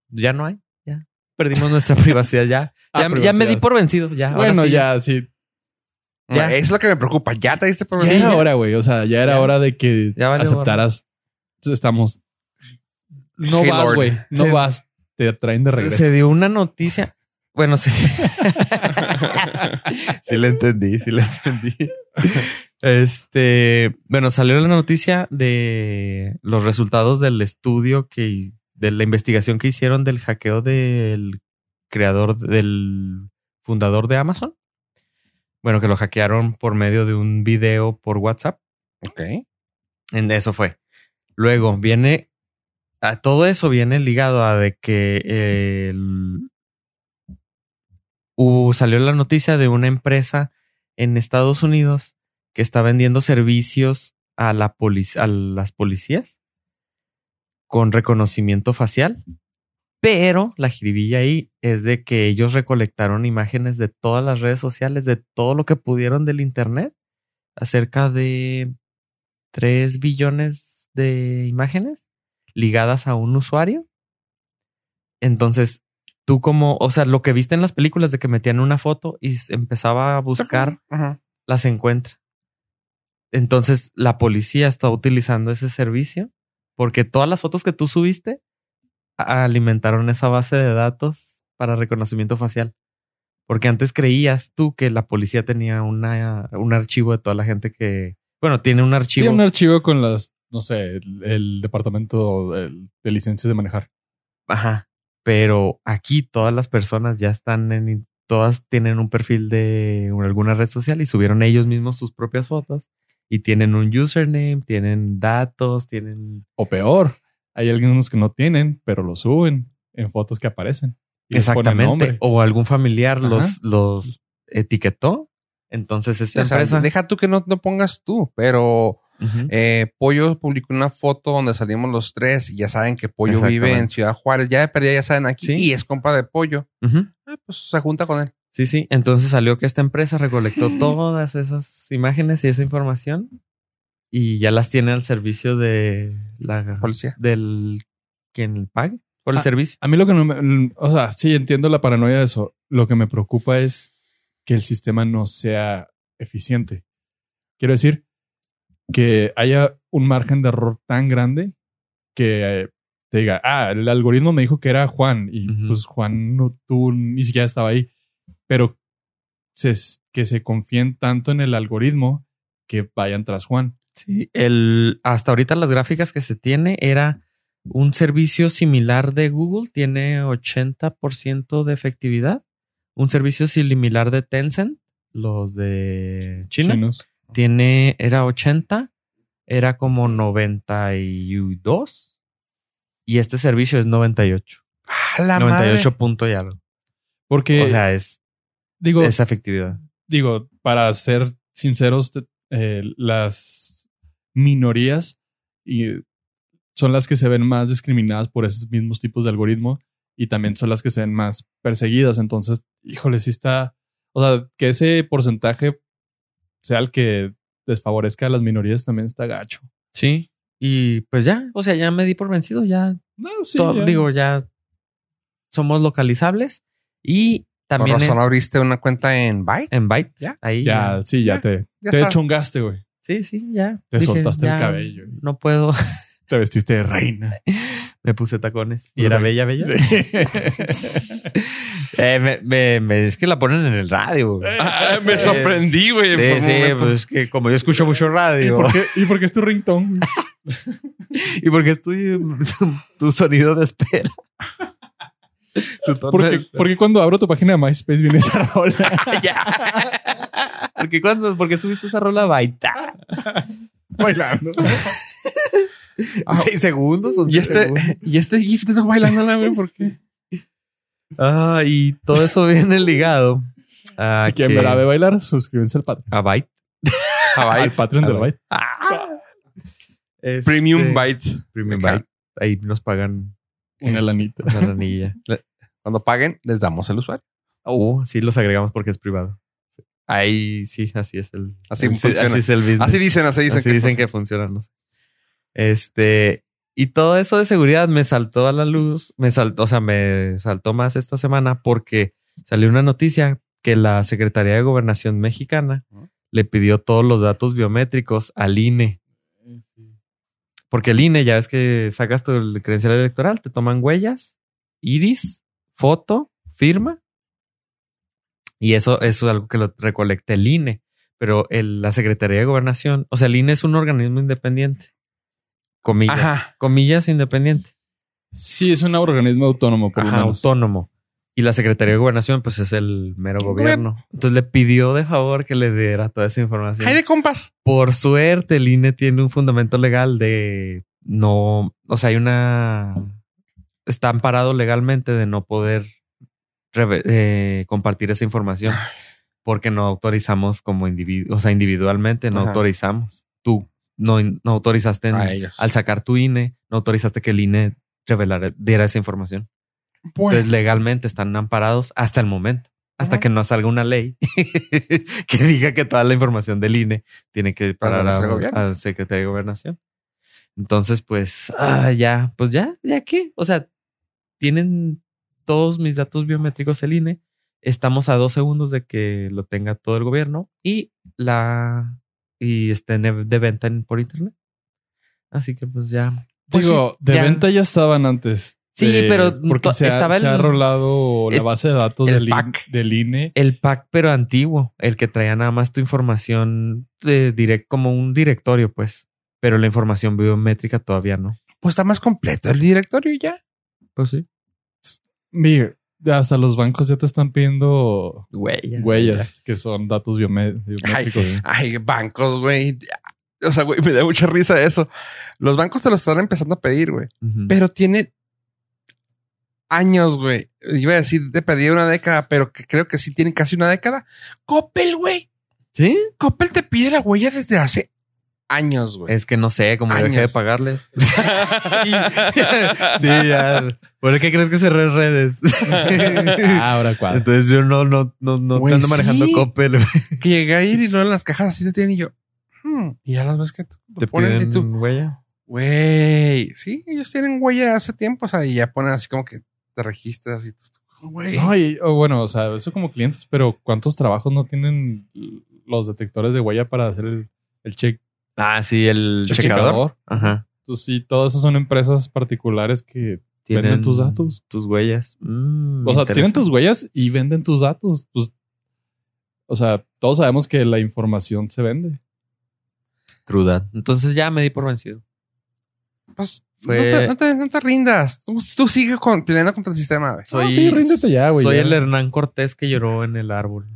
S3: Ya no hay. Ya perdimos nuestra [LAUGHS] privacidad. Ya,
S2: Ah,
S3: ya, ya me
S2: privacidad.
S3: di por vencido. Ya. ahora
S2: Bueno,
S3: sí,
S2: ya, sí.
S3: Ya.
S1: Eso es lo que me preocupa. Ya te diste por
S2: Ya
S1: vencido?
S2: era hora, güey. O sea, ya era
S3: Ya.
S2: hora de que
S3: Ya valió
S2: aceptaras. Estamos. No
S1: Hey,
S2: vas,
S1: Lord.
S2: güey. No
S3: Se-
S2: vas. Te traen de regreso.
S3: Se dio una noticia.
S2: [LAUGHS]
S3: Bueno, sí. sí la entendí, sí la entendí. Este, bueno, salió la noticia de los resultados del estudio que, de la investigación que hicieron del hackeo del creador, del fundador de Amazon. Bueno, que lo hackearon por medio de un video por WhatsApp.
S1: Ok.
S3: En eso fue. Luego viene. A todo eso viene ligado a de que eh, el- hubo- salió la noticia de una empresa en Estados Unidos que está vendiendo servicios a, la polic- a las policías con reconocimiento facial. Pero la jiribilla ahí es de que ellos recolectaron imágenes de todas las redes sociales, de todo lo que pudieron del Internet, acerca de 3 billones de imágenes ligadas a un usuario. Entonces, tú como, o sea, lo que viste en las películas de que metían una foto y s- empezaba a buscar
S1: Ajá.
S3: las encuentra. Entonces la policía está utilizando ese servicio porque todas las fotos que tú subiste a- alimentaron esa base de datos para reconocimiento facial. Porque antes creías tú que la policía tenía una, un archivo de toda la gente que... Bueno, tiene un archivo.
S2: Tiene un archivo con las, no sé, el, el departamento del- de licencias de manejar.
S3: Ajá. Pero aquí todas las personas ya están en... Todas tienen un perfil de alguna red social y subieron ellos mismos sus propias fotos. Y tienen un username, tienen datos, tienen
S2: O peor, hay algunos que no tienen, pero lo suben en fotos que aparecen. Y les ponen
S3: Exactamente.
S2: nombre.
S3: O algún familiar
S2: Ajá.
S3: los, los etiquetó. Entonces
S1: Sí,
S3: esta
S1: o sea,
S3: empresa.
S1: deja tú que no, no pongas tú, pero
S3: Ujú.
S1: eh, Pollo publicó una foto donde salimos los tres y ya saben que Pollo vive en
S3: Exactamente.
S1: Ciudad Juárez. Ya de perdida ya saben aquí
S3: Sí.
S1: y es compa de Pollo.
S3: Ujú.
S1: Ah, pues se junta con él.
S3: Sí, sí. Entonces salió que esta empresa recolectó todas esas imágenes y esa información y ya las tiene al servicio de la
S1: Policía.
S3: Del quien pague por el
S2: Ah.
S3: servicio.
S2: A mí lo que no me. O sea, sí entiendo la paranoia de eso. Lo que me preocupa es que el sistema no sea eficiente. Quiero decir que haya un margen de error tan grande que eh, te diga, ah, el algoritmo me dijo que era Juan y
S3: Ujú.
S2: pues Juan no tú ni siquiera estaba ahí, pero se, que se confíen tanto en el algoritmo que vayan tras Juan.
S3: Sí, el, hasta ahorita las gráficas que se tiene era un servicio similar de Google, tiene 80% de efectividad. Un servicio similar de Tencent, los de China,
S2: Chinos.
S3: tiene, era 80, era como 92. Y este servicio es 98.
S1: ¡Ah, la
S3: 98
S1: madre!
S3: punto y algo.
S2: Porque
S3: o sea, es
S2: digo,
S3: esa efectividad.
S2: digo, para ser sinceros, te- eh, las minorías y son las que se ven más discriminadas por esos mismos tipos de algoritmo y también son las que se ven más perseguidas. Entonces, híjole, sí está. O sea, que ese porcentaje sea el que desfavorezca a las minorías también está gacho.
S3: Sí. Y pues ya, o sea, ya me di por vencido, ya
S2: No, sí.
S3: todo- digo, ya somos localizables y
S1: Por
S3: también
S1: razón
S3: es-
S1: abriste una cuenta en Byte.
S3: en Byte.
S1: Ya.
S3: Ahí.
S2: ya, sí, ya,
S1: Ya,
S2: te,
S1: Ya
S2: te
S1: está.
S2: chongaste, güey.
S3: Sí, sí, ya.
S2: Te soltaste el
S3: ya
S2: cabello.
S3: No puedo. [LAUGHS]
S2: Te vestiste de reina.
S3: me puse tacones. Y
S2: Puse
S3: era
S2: tacones.
S3: bella, bella. [LAUGHS] Eh, me- me- me- es que la ponen en el radio. güey.
S1: Ah, me sorprendí, güey. por
S3: Sí,
S1: un
S3: sí,
S1: momento.
S3: pues que como yo escucho mucho
S2: ¿Y
S3: radio.
S2: por qué, [LAUGHS] y por qué es tu ringtone?
S3: [LAUGHS] ¿Y porque es tu, tu sonido de espera? Tu tono de
S2: Porque,
S3: espera.
S2: porque cuando abro tu página de MySpace viene esa rola.
S3: [LAUGHS] Ya. Porque cuando, porque subiste esa
S1: [LAUGHS]
S3: rola baita. [LAUGHS]
S2: bailando.
S1: Ah,
S3: ¿Seis segundos?
S1: y este, [LAUGHS] y este GIF de tú bailándola, güey, ¿por qué?
S3: Ah, y todo eso viene ligado. A
S2: Si quieren
S3: que-
S2: ver a Abe bailar, suscríbanse al Patreon.
S3: a Byte.
S1: Ah,
S2: Al Patreon del Byte.
S3: Ah. Este-
S1: [LAUGHS] Premium Byte.
S3: Premium
S1: Ajá.
S3: Byte. Ahí nos pagan
S2: Una
S3: Es-
S2: lanita.
S3: una ranilla.
S1: Cuando paguen, les damos el usuario.
S3: Oh, sí, los agregamos porque es privado. Ahí sí, así es el.
S1: Así
S3: el-
S1: funciona.
S3: Así es el business.
S1: Así dicen, así dicen.
S3: Así dicen que funcionan. no sé. Este. Y todo eso de seguridad me saltó a la luz. Me saltó, o sea, me saltó más esta semana porque salió una noticia que la Secretaría de Gobernación Mexicana
S1: Ujú.
S3: le pidió todos los datos biométricos al E. INE. Porque el INE, ya ves que sacas tu el credencial electoral, te toman huellas, iris, foto, firma. Y eso, eso es algo que lo recolecta el INE. Pero el- la Secretaría de Gobernación, o sea, el INE es un organismo independiente. Comillas.
S1: Ajá.
S3: Comillas independiente.
S2: Sí, es un organismo autónomo, por lo
S3: Ajá,
S2: menos.
S3: autónomo. Y la Secretaría de Gobernación, pues es el mero gobierno. Entonces le pidió de favor que le diera toda esa información.
S1: Ay, de compas.
S3: Por suerte, el INE tiene un fundamento legal de no, o sea, hay una, está amparado legalmente de no poder reve- eh, compartir esa información porque no autorizamos como individuo, o sea, individualmente no
S1: Ajá.
S3: autorizamos. Tú no, no autorizaste en-
S1: A ellos.
S3: al sacar tu INE, no autorizaste que el INE revelara, diera esa información.
S1: Pues,
S3: Entonces, legalmente están amparados hasta el momento, hasta
S1: Ajá.
S3: que no salga una ley [LAUGHS] que diga que toda la información del INE tiene que
S1: Para
S3: parar
S1: la
S3: a,
S1: gobierno.
S3: a Secretaría de Gobernación. Entonces, pues, ah, ya, pues ya, ya qué. O sea, tienen todos mis datos biométricos el INE. Estamos a dos segundos de que lo tenga todo el gobierno y la y estén de venta en- por internet. Así que pues ya. Pues
S2: Digo,
S3: sí,
S2: de
S3: ya.
S2: venta ya estaban antes.
S3: Sí,
S2: Eh,
S3: pero
S2: porque
S3: to-
S2: se ha,
S3: estaba
S2: se ha
S3: el-
S2: rolado la
S3: es-
S2: base de datos
S1: el
S2: del, in-
S1: pack.
S2: del INE.
S3: El pack, pero antiguo, el que traía nada más tu información de direct, como un directorio, pues. Pero la información biométrica todavía no.
S1: Pues está más completo el directorio y ya.
S3: Pues sí.
S2: Mira, hasta los bancos ya te están pidiendo
S3: Huellas.
S2: huellas, que son datos biomé-
S1: Ay,
S2: biométricos.
S1: ay, bancos, güey. O sea, güey, me da mucha risa eso. Los bancos te lo están empezando a pedir, güey.
S3: Ujú.
S1: Pero tiene años, güey. Iba a decir, te pedí una década, pero que creo que sí tienen casi una década. Coppel, güey.
S3: ¿Sí?
S1: Coppel te pide la huella desde hace años, güey.
S3: Es que no sé, como dejé de
S1: Años.
S3: pagarles. sí, ya. ¿Por qué crees que cerré redes?
S2: [LAUGHS] Ah, ahora cuál.
S3: [LAUGHS] Entonces yo no, no, no, no
S1: Güey,
S3: te ando manejando
S1: sí.
S3: Coppel. güey.
S1: Que llegué a ir y luego en las cajas así te tienen y yo. hmm, y ya las ves que
S3: Te
S1: te ponen y tú.
S3: piden huella.
S1: Güey, sí, ellos tienen huella de hace tiempo, o sea, y ya ponen así como que te registras y tú, güey.
S2: No, y- o bueno, o sea, eso como clientes, pero ¿cuántos trabajos no tienen los detectores de huella para hacer el, el check?
S3: Ah, sí, el
S2: el
S3: checador. Ajá.
S2: Entonces, sí, todas esas son empresas particulares que venden tus datos.
S3: Tus huellas. Mm,
S2: O sea, tienen
S3: interesante.
S2: tus huellas y venden tus datos. Pues, o sea, todos sabemos que la información se vende.
S3: Trudad. Entonces ya me di por vencido.
S1: Pues,
S3: Fue-
S1: no, te, no te- no te rindas. Tú, tú sigues con, peleando contra el sistema, güey.
S2: No, Ah, sí, ríndete ya, güey,
S3: Soy
S2: ya.
S3: el Hernán Cortés que lloró en el árbol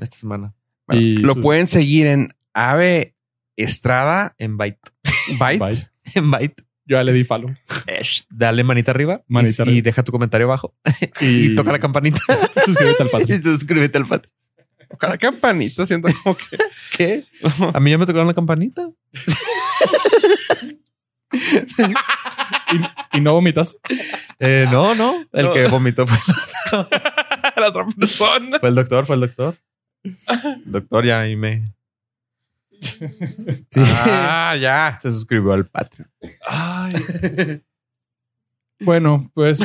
S3: esta semana.
S1: Bueno,
S2: Y
S1: lo
S2: su-
S1: pueden seguir en Ave Estrada
S3: En Byte. [LAUGHS]
S1: Byte.
S2: Bye.
S3: En Byte.
S2: Yo ya le di follow.
S3: Esh. Dale manita arriba. y-
S2: Manita
S3: y,
S2: arriba.
S3: deja tu comentario abajo.
S2: Y,
S3: [LAUGHS] Y, toca la campanita.
S2: [LAUGHS] Suscríbete al
S3: [LAUGHS] y
S2: Patreon.
S3: suscríbete al Patreon.
S1: Ojalá campanita, siento como que. [LAUGHS]
S3: [LAUGHS] ¿Qué? A mí ya me tocaron la campanita.
S2: Y, y no vomitaste.
S3: Eh, no, no. El
S1: No.
S3: que vomitó [LAUGHS] fue,
S1: la otra persona.
S3: fue el doctor, fue el doctor. El doctor ya ahí me... Sí.
S2: [LAUGHS]
S1: Ah, ya.
S3: Se suscribió al Patreon. [LAUGHS]
S2: Bueno, pues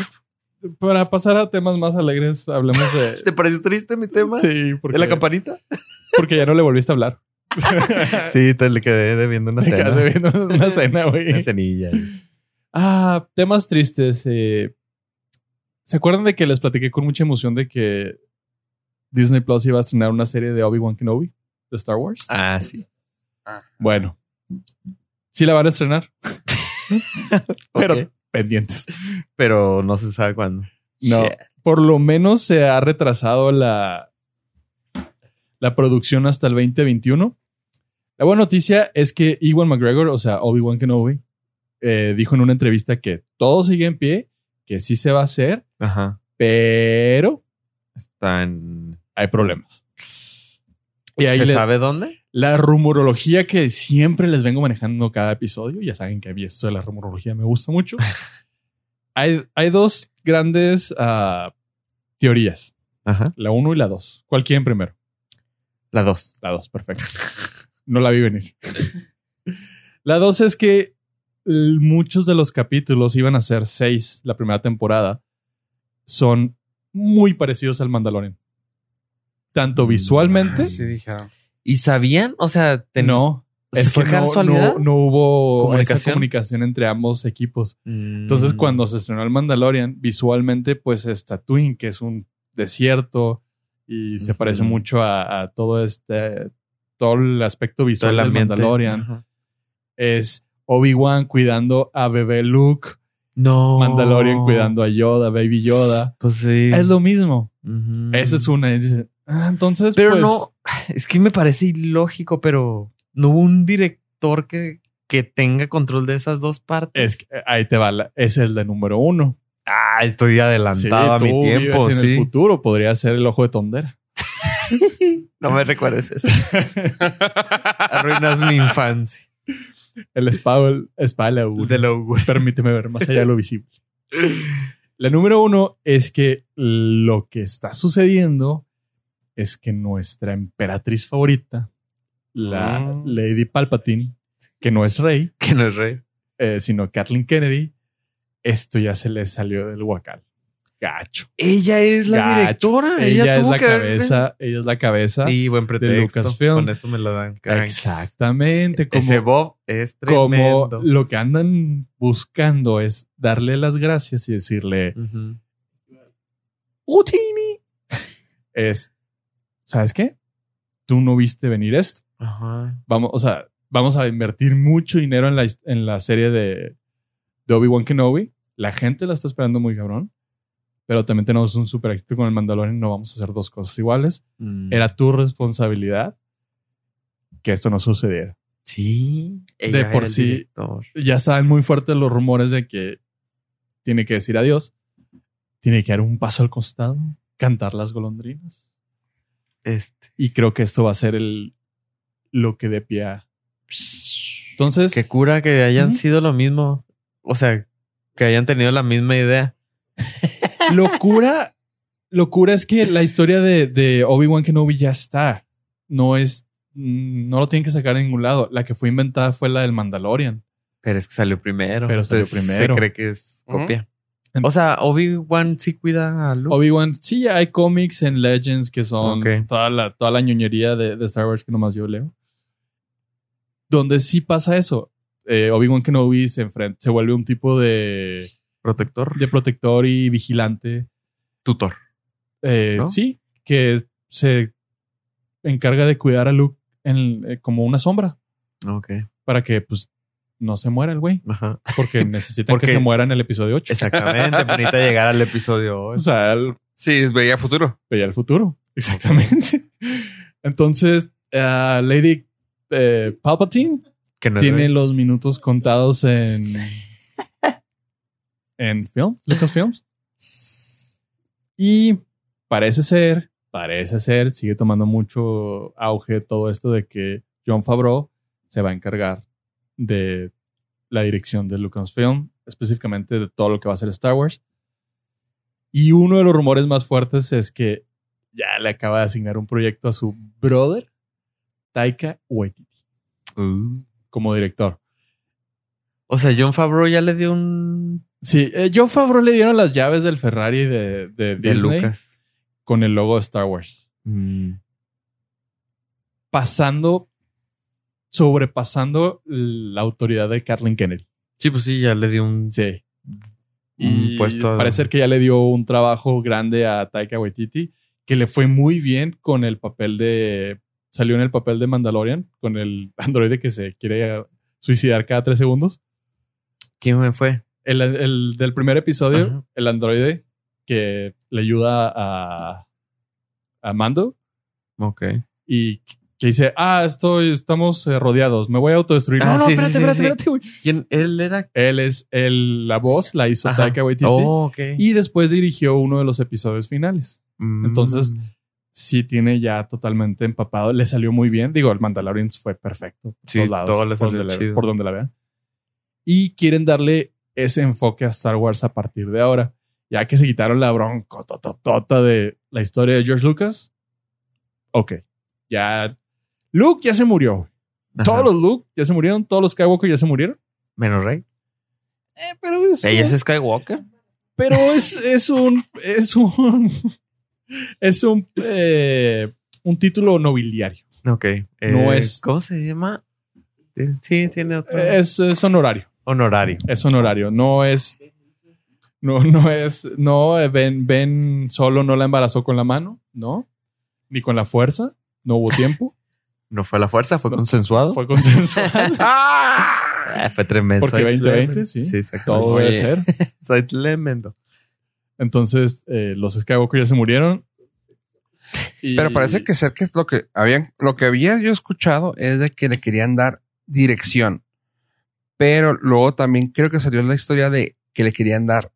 S2: para pasar a temas más alegres, hablemos de.
S3: [LAUGHS] ¿Te pareció triste mi tema?
S2: Sí,
S3: ¿De
S2: porque,
S3: la campanita?
S2: porque ya no le volviste a [LAUGHS] hablar.
S3: Sí, te le quedé
S2: [LAUGHS]
S3: debiendo una
S2: Te
S3: cena.
S2: quedaste viendo una cena,
S3: Una
S2: güey.
S3: cenilla.
S2: Ah, temas tristes. eh. ¿Se acuerdan de que les platiqué con mucha emoción de que Disney Plus iba a estrenar una serie de Obi-Wan Kenobi de Star Wars?
S3: Ah, sí.
S2: Bueno, sí la van a estrenar, pero pendientes.
S3: pero no se sabe cuándo.
S2: No,
S3: Shit.
S2: por lo menos se ha retrasado la, la producción hasta el 2021. La buena noticia es que Ewan McGregor, o sea, Obi-Wan Kenobi, eh, dijo en una entrevista que todo sigue en pie, que sí se va a hacer,
S3: Ajá.
S2: pero
S3: Está en.
S2: hay problemas. Y ahí
S3: ¿Se
S2: le-
S3: sabe dónde?
S2: la rumorología que siempre les vengo manejando cada episodio, ya saben que a mí esto de la rumorología me gusta
S3: [LAUGHS]
S2: mucho. hay, hay dos grandes ah, teorías.
S3: Ajá.
S2: La 1 y la 2. ¿Cuál quieren primero?
S3: La dos.
S2: La 2, perfecto. No la vi venir. La 2 es que l- muchos de los capítulos iban a ser 6 la primera temporada. Son muy parecidos al Mandalorian. Tanto visualmente.
S1: Ah, sí, dijeron.
S3: ¿Y sabían? O sea, ten-
S2: No. Es
S3: ¿Fue
S2: que no,
S3: casualidad?
S2: no- no hubo comunicación.
S3: ¿Comunicación?
S2: comunicación entre ambos equipos.
S3: Mm.
S2: Entonces, cuando se estrenó el Mandalorian, visualmente, pues es Tatooine, que es un desierto y se
S3: Ujú.
S2: parece mucho a, a todo este, todo el aspecto
S3: Mm, Todo
S2: visual
S3: el
S2: del
S3: ambiente.
S2: Mandalorian.
S3: Ajá.
S2: Es Obi-Wan cuidando a bebé Luke,
S3: No.
S2: Mandalorian cuidando a Yoda, Baby Yoda.
S3: Pues Oh. sí.
S2: Es lo mismo.
S3: Ujú.
S2: Esa es una. y dice, ah, entonces,
S3: Pero
S2: pues,
S3: no. Es que me parece ilógico, pero no hubo un director que, que tenga control de esas dos partes.
S2: Es que, eh, ahí te va. la- es el de número uno.
S3: Ah, estoy adelantado
S2: Sí,
S3: a mi
S2: tú
S3: tiempo.
S2: vives En el
S3: Sí.
S2: futuro podría ser el ojo de tondera.
S3: No me recuerdes
S2: [LAUGHS]
S3: eso. Arruinas mi infancia.
S2: El espada, el espada
S3: De lo
S2: permíteme ver más allá de lo visible. La número uno es que lo que está sucediendo es que nuestra emperatriz favorita, la
S3: Ah.
S2: Lady Palpatine, [LAUGHS] que no es rey,
S3: que no es rey.
S2: eh, sino Kathleen Kennedy, esto ya se le salió del huacal. Gacho.
S3: Ella es la
S2: Gacho.
S3: directora. Ella,
S2: Ella es
S3: tuvo
S2: la
S3: que haber-
S2: cabeza, ella es la cabeza.
S3: Y buen pretexto.
S2: Lucasfilm.
S3: Con esto me la dan. crank.
S2: Exactamente. Como,
S3: Ese Bob es tremendo.
S2: como lo que andan buscando es darle las gracias y decirle,
S3: Ujú.
S2: Utini. Es, ¿sabes qué? Tú no viste venir esto.
S3: Ajá.
S2: Vamos, o sea, vamos a invertir mucho dinero en la, his- en la serie de, de Obi-Wan Kenobi. La gente la está esperando muy cabrón. Pero también tenemos un super éxito con el Mandalorian. No vamos a hacer dos cosas iguales.
S3: Mm.
S2: Era tu responsabilidad que esto no sucediera.
S3: Sí. ella
S2: de por
S3: era el
S2: sí.
S3: director.
S2: Ya saben muy fuertes los rumores de que tiene que decir adiós. Tiene que dar un paso al costado. Cantar las golondrinas.
S3: Este.
S2: Y creo que esto va a ser el lo que de pie. a- Entonces,
S3: Qué cura que hayan
S2: Ujú.
S3: sido lo mismo. O sea, que hayan tenido la misma idea.
S2: [LAUGHS] locura, locura es que la historia de, de Obi-Wan Kenobi ya está. No es, mm, no lo tienen que sacar a ningún lado. La que fue inventada fue la del Mandalorian.
S3: Pero es que salió primero.
S2: Pero salió
S3: Entonces,
S2: primero.
S3: Se cree que es
S1: Ujú.
S3: copia. O sea, Obi-Wan sí cuida a Luke.
S2: Obi-Wan, sí, ya hay cómics en Legends que son
S3: Ok.
S2: toda, la, toda la ñoñería de, de Star Wars que nomás yo leo. Donde sí pasa eso. Eh, Obi-Wan Kenobi se, enfrenta, se vuelve un tipo de,
S3: Protector.
S2: de protector y vigilante.
S3: Tutor.
S2: Eh,
S3: ¿No?
S2: Sí, que se encarga de cuidar a Luke en- eh, como una sombra
S3: Ok.
S2: para que pues no se muera el güey.
S3: Ajá.
S2: [LAUGHS] Porque necesitan
S3: Porque-
S2: que se muera en el episodio 8.
S3: Exactamente. pero Necesita llegar al episodio
S2: O
S3: ocho.
S2: sea, el-
S1: Sí, es veía futuro.
S2: veía el futuro. Exactamente. [LAUGHS] Entonces, ah, Lady eh, Palpatine
S3: Que no es
S2: tiene
S3: de-
S2: los minutos contados en. en film, Lucasfilms. Y parece ser, parece ser, sigue tomando mucho auge todo esto de que John Favreau se va a encargar de la dirección de Lucasfilm, específicamente de todo lo que va a ser Star Wars. Y uno de los rumores más fuertes es que ya le acaba de asignar un proyecto a su brother, Taika Waititi
S3: Uh.
S2: como director.
S3: O sea, John Favreau ya le dio un...
S2: Sí, eh, John Favreau le dieron las llaves del Ferrari de, de
S3: De
S2: Disney
S3: Lucas. Mm.
S2: con el logo de Star Wars. Pasando, sobrepasando la autoridad de Kathleen Kennedy.
S3: Sí, pues sí, ya le dio un...
S2: Sí.
S3: Un
S2: Y
S3: puesto a-
S2: parece ser que ya le dio un trabajo grande a Taika Waititi, que le fue muy bien con el papel de... Salió en el papel de Mandalorian, con el [LAUGHS] androide que se quiere eh, suicidar cada tres segundos.
S3: ¿Quién me fue?
S2: El, el del primer episodio,
S3: Ajá.
S2: el androide que le ayuda a, a Mando
S3: Ok.
S2: y que dice, ah, estoy, estamos eh, rodeados, me voy a autodestruir. no,
S3: Ah,
S2: no,
S3: sí, sí,
S2: espérate,
S3: sí,
S2: espérate,
S3: sí.
S2: espérate, güey.
S3: ¿Quién? Él era...
S2: Él es el, la voz, la hizo
S3: Ajá.
S2: Taika Waititi.
S3: Oh, ok.
S2: Y después dirigió uno de los episodios finales.
S3: Mm.
S2: entonces- Sí, tiene ya totalmente empapado. Le salió muy bien. Digo, el Mandalorian fue perfecto. por
S3: Sí,
S2: todos lados,
S3: todo le
S2: por,
S3: salió
S2: donde la-
S3: chido.
S2: por donde la vean. Y quieren darle ese enfoque a Star Wars a partir de ahora. Ya que se quitaron la bronca tototota de la historia de George Lucas. Ok. Ya. Luke ya se murió.
S3: Ajá.
S2: Todos los Luke ya se murieron. Todos los Skywalker ya se murieron.
S3: Menos Rey.
S2: Eh, pero es.
S3: Ella es Skywalker.
S2: Pero es, es un. Es un. [LAUGHS] Es un. eh, un título nobiliario.
S3: Ok. eh,
S2: No es-
S3: ¿Cómo se llama? Eh, Sí, tiene otro
S2: Es, es honorario.
S3: honorario.
S2: Es honorario. No es. No, no es. No, eh, Ben, ben solo no la embarazó con la mano, ¿no? Ni con la fuerza. No hubo
S1: [LAUGHS]
S2: tiempo.
S3: No fue a la fuerza, fue
S2: No.
S3: consensuado.
S2: Fue
S3: [LAUGHS]
S2: consensual.
S3: Ah, fue tremendo.
S2: Porque
S3: Soy
S2: 2020,
S3: tremendo.
S2: sí.
S3: Sí, exactamente.
S2: Todo debe
S1: Oye.
S2: ser.
S3: Soy tremendo.
S2: Entonces, eh, los Skywalker ya se murieron. Y-
S1: Pero parece que ser que es lo que habían, lo que había yo escuchado es de que le querían dar dirección. Pero luego también creo que salió la historia de que le querían dar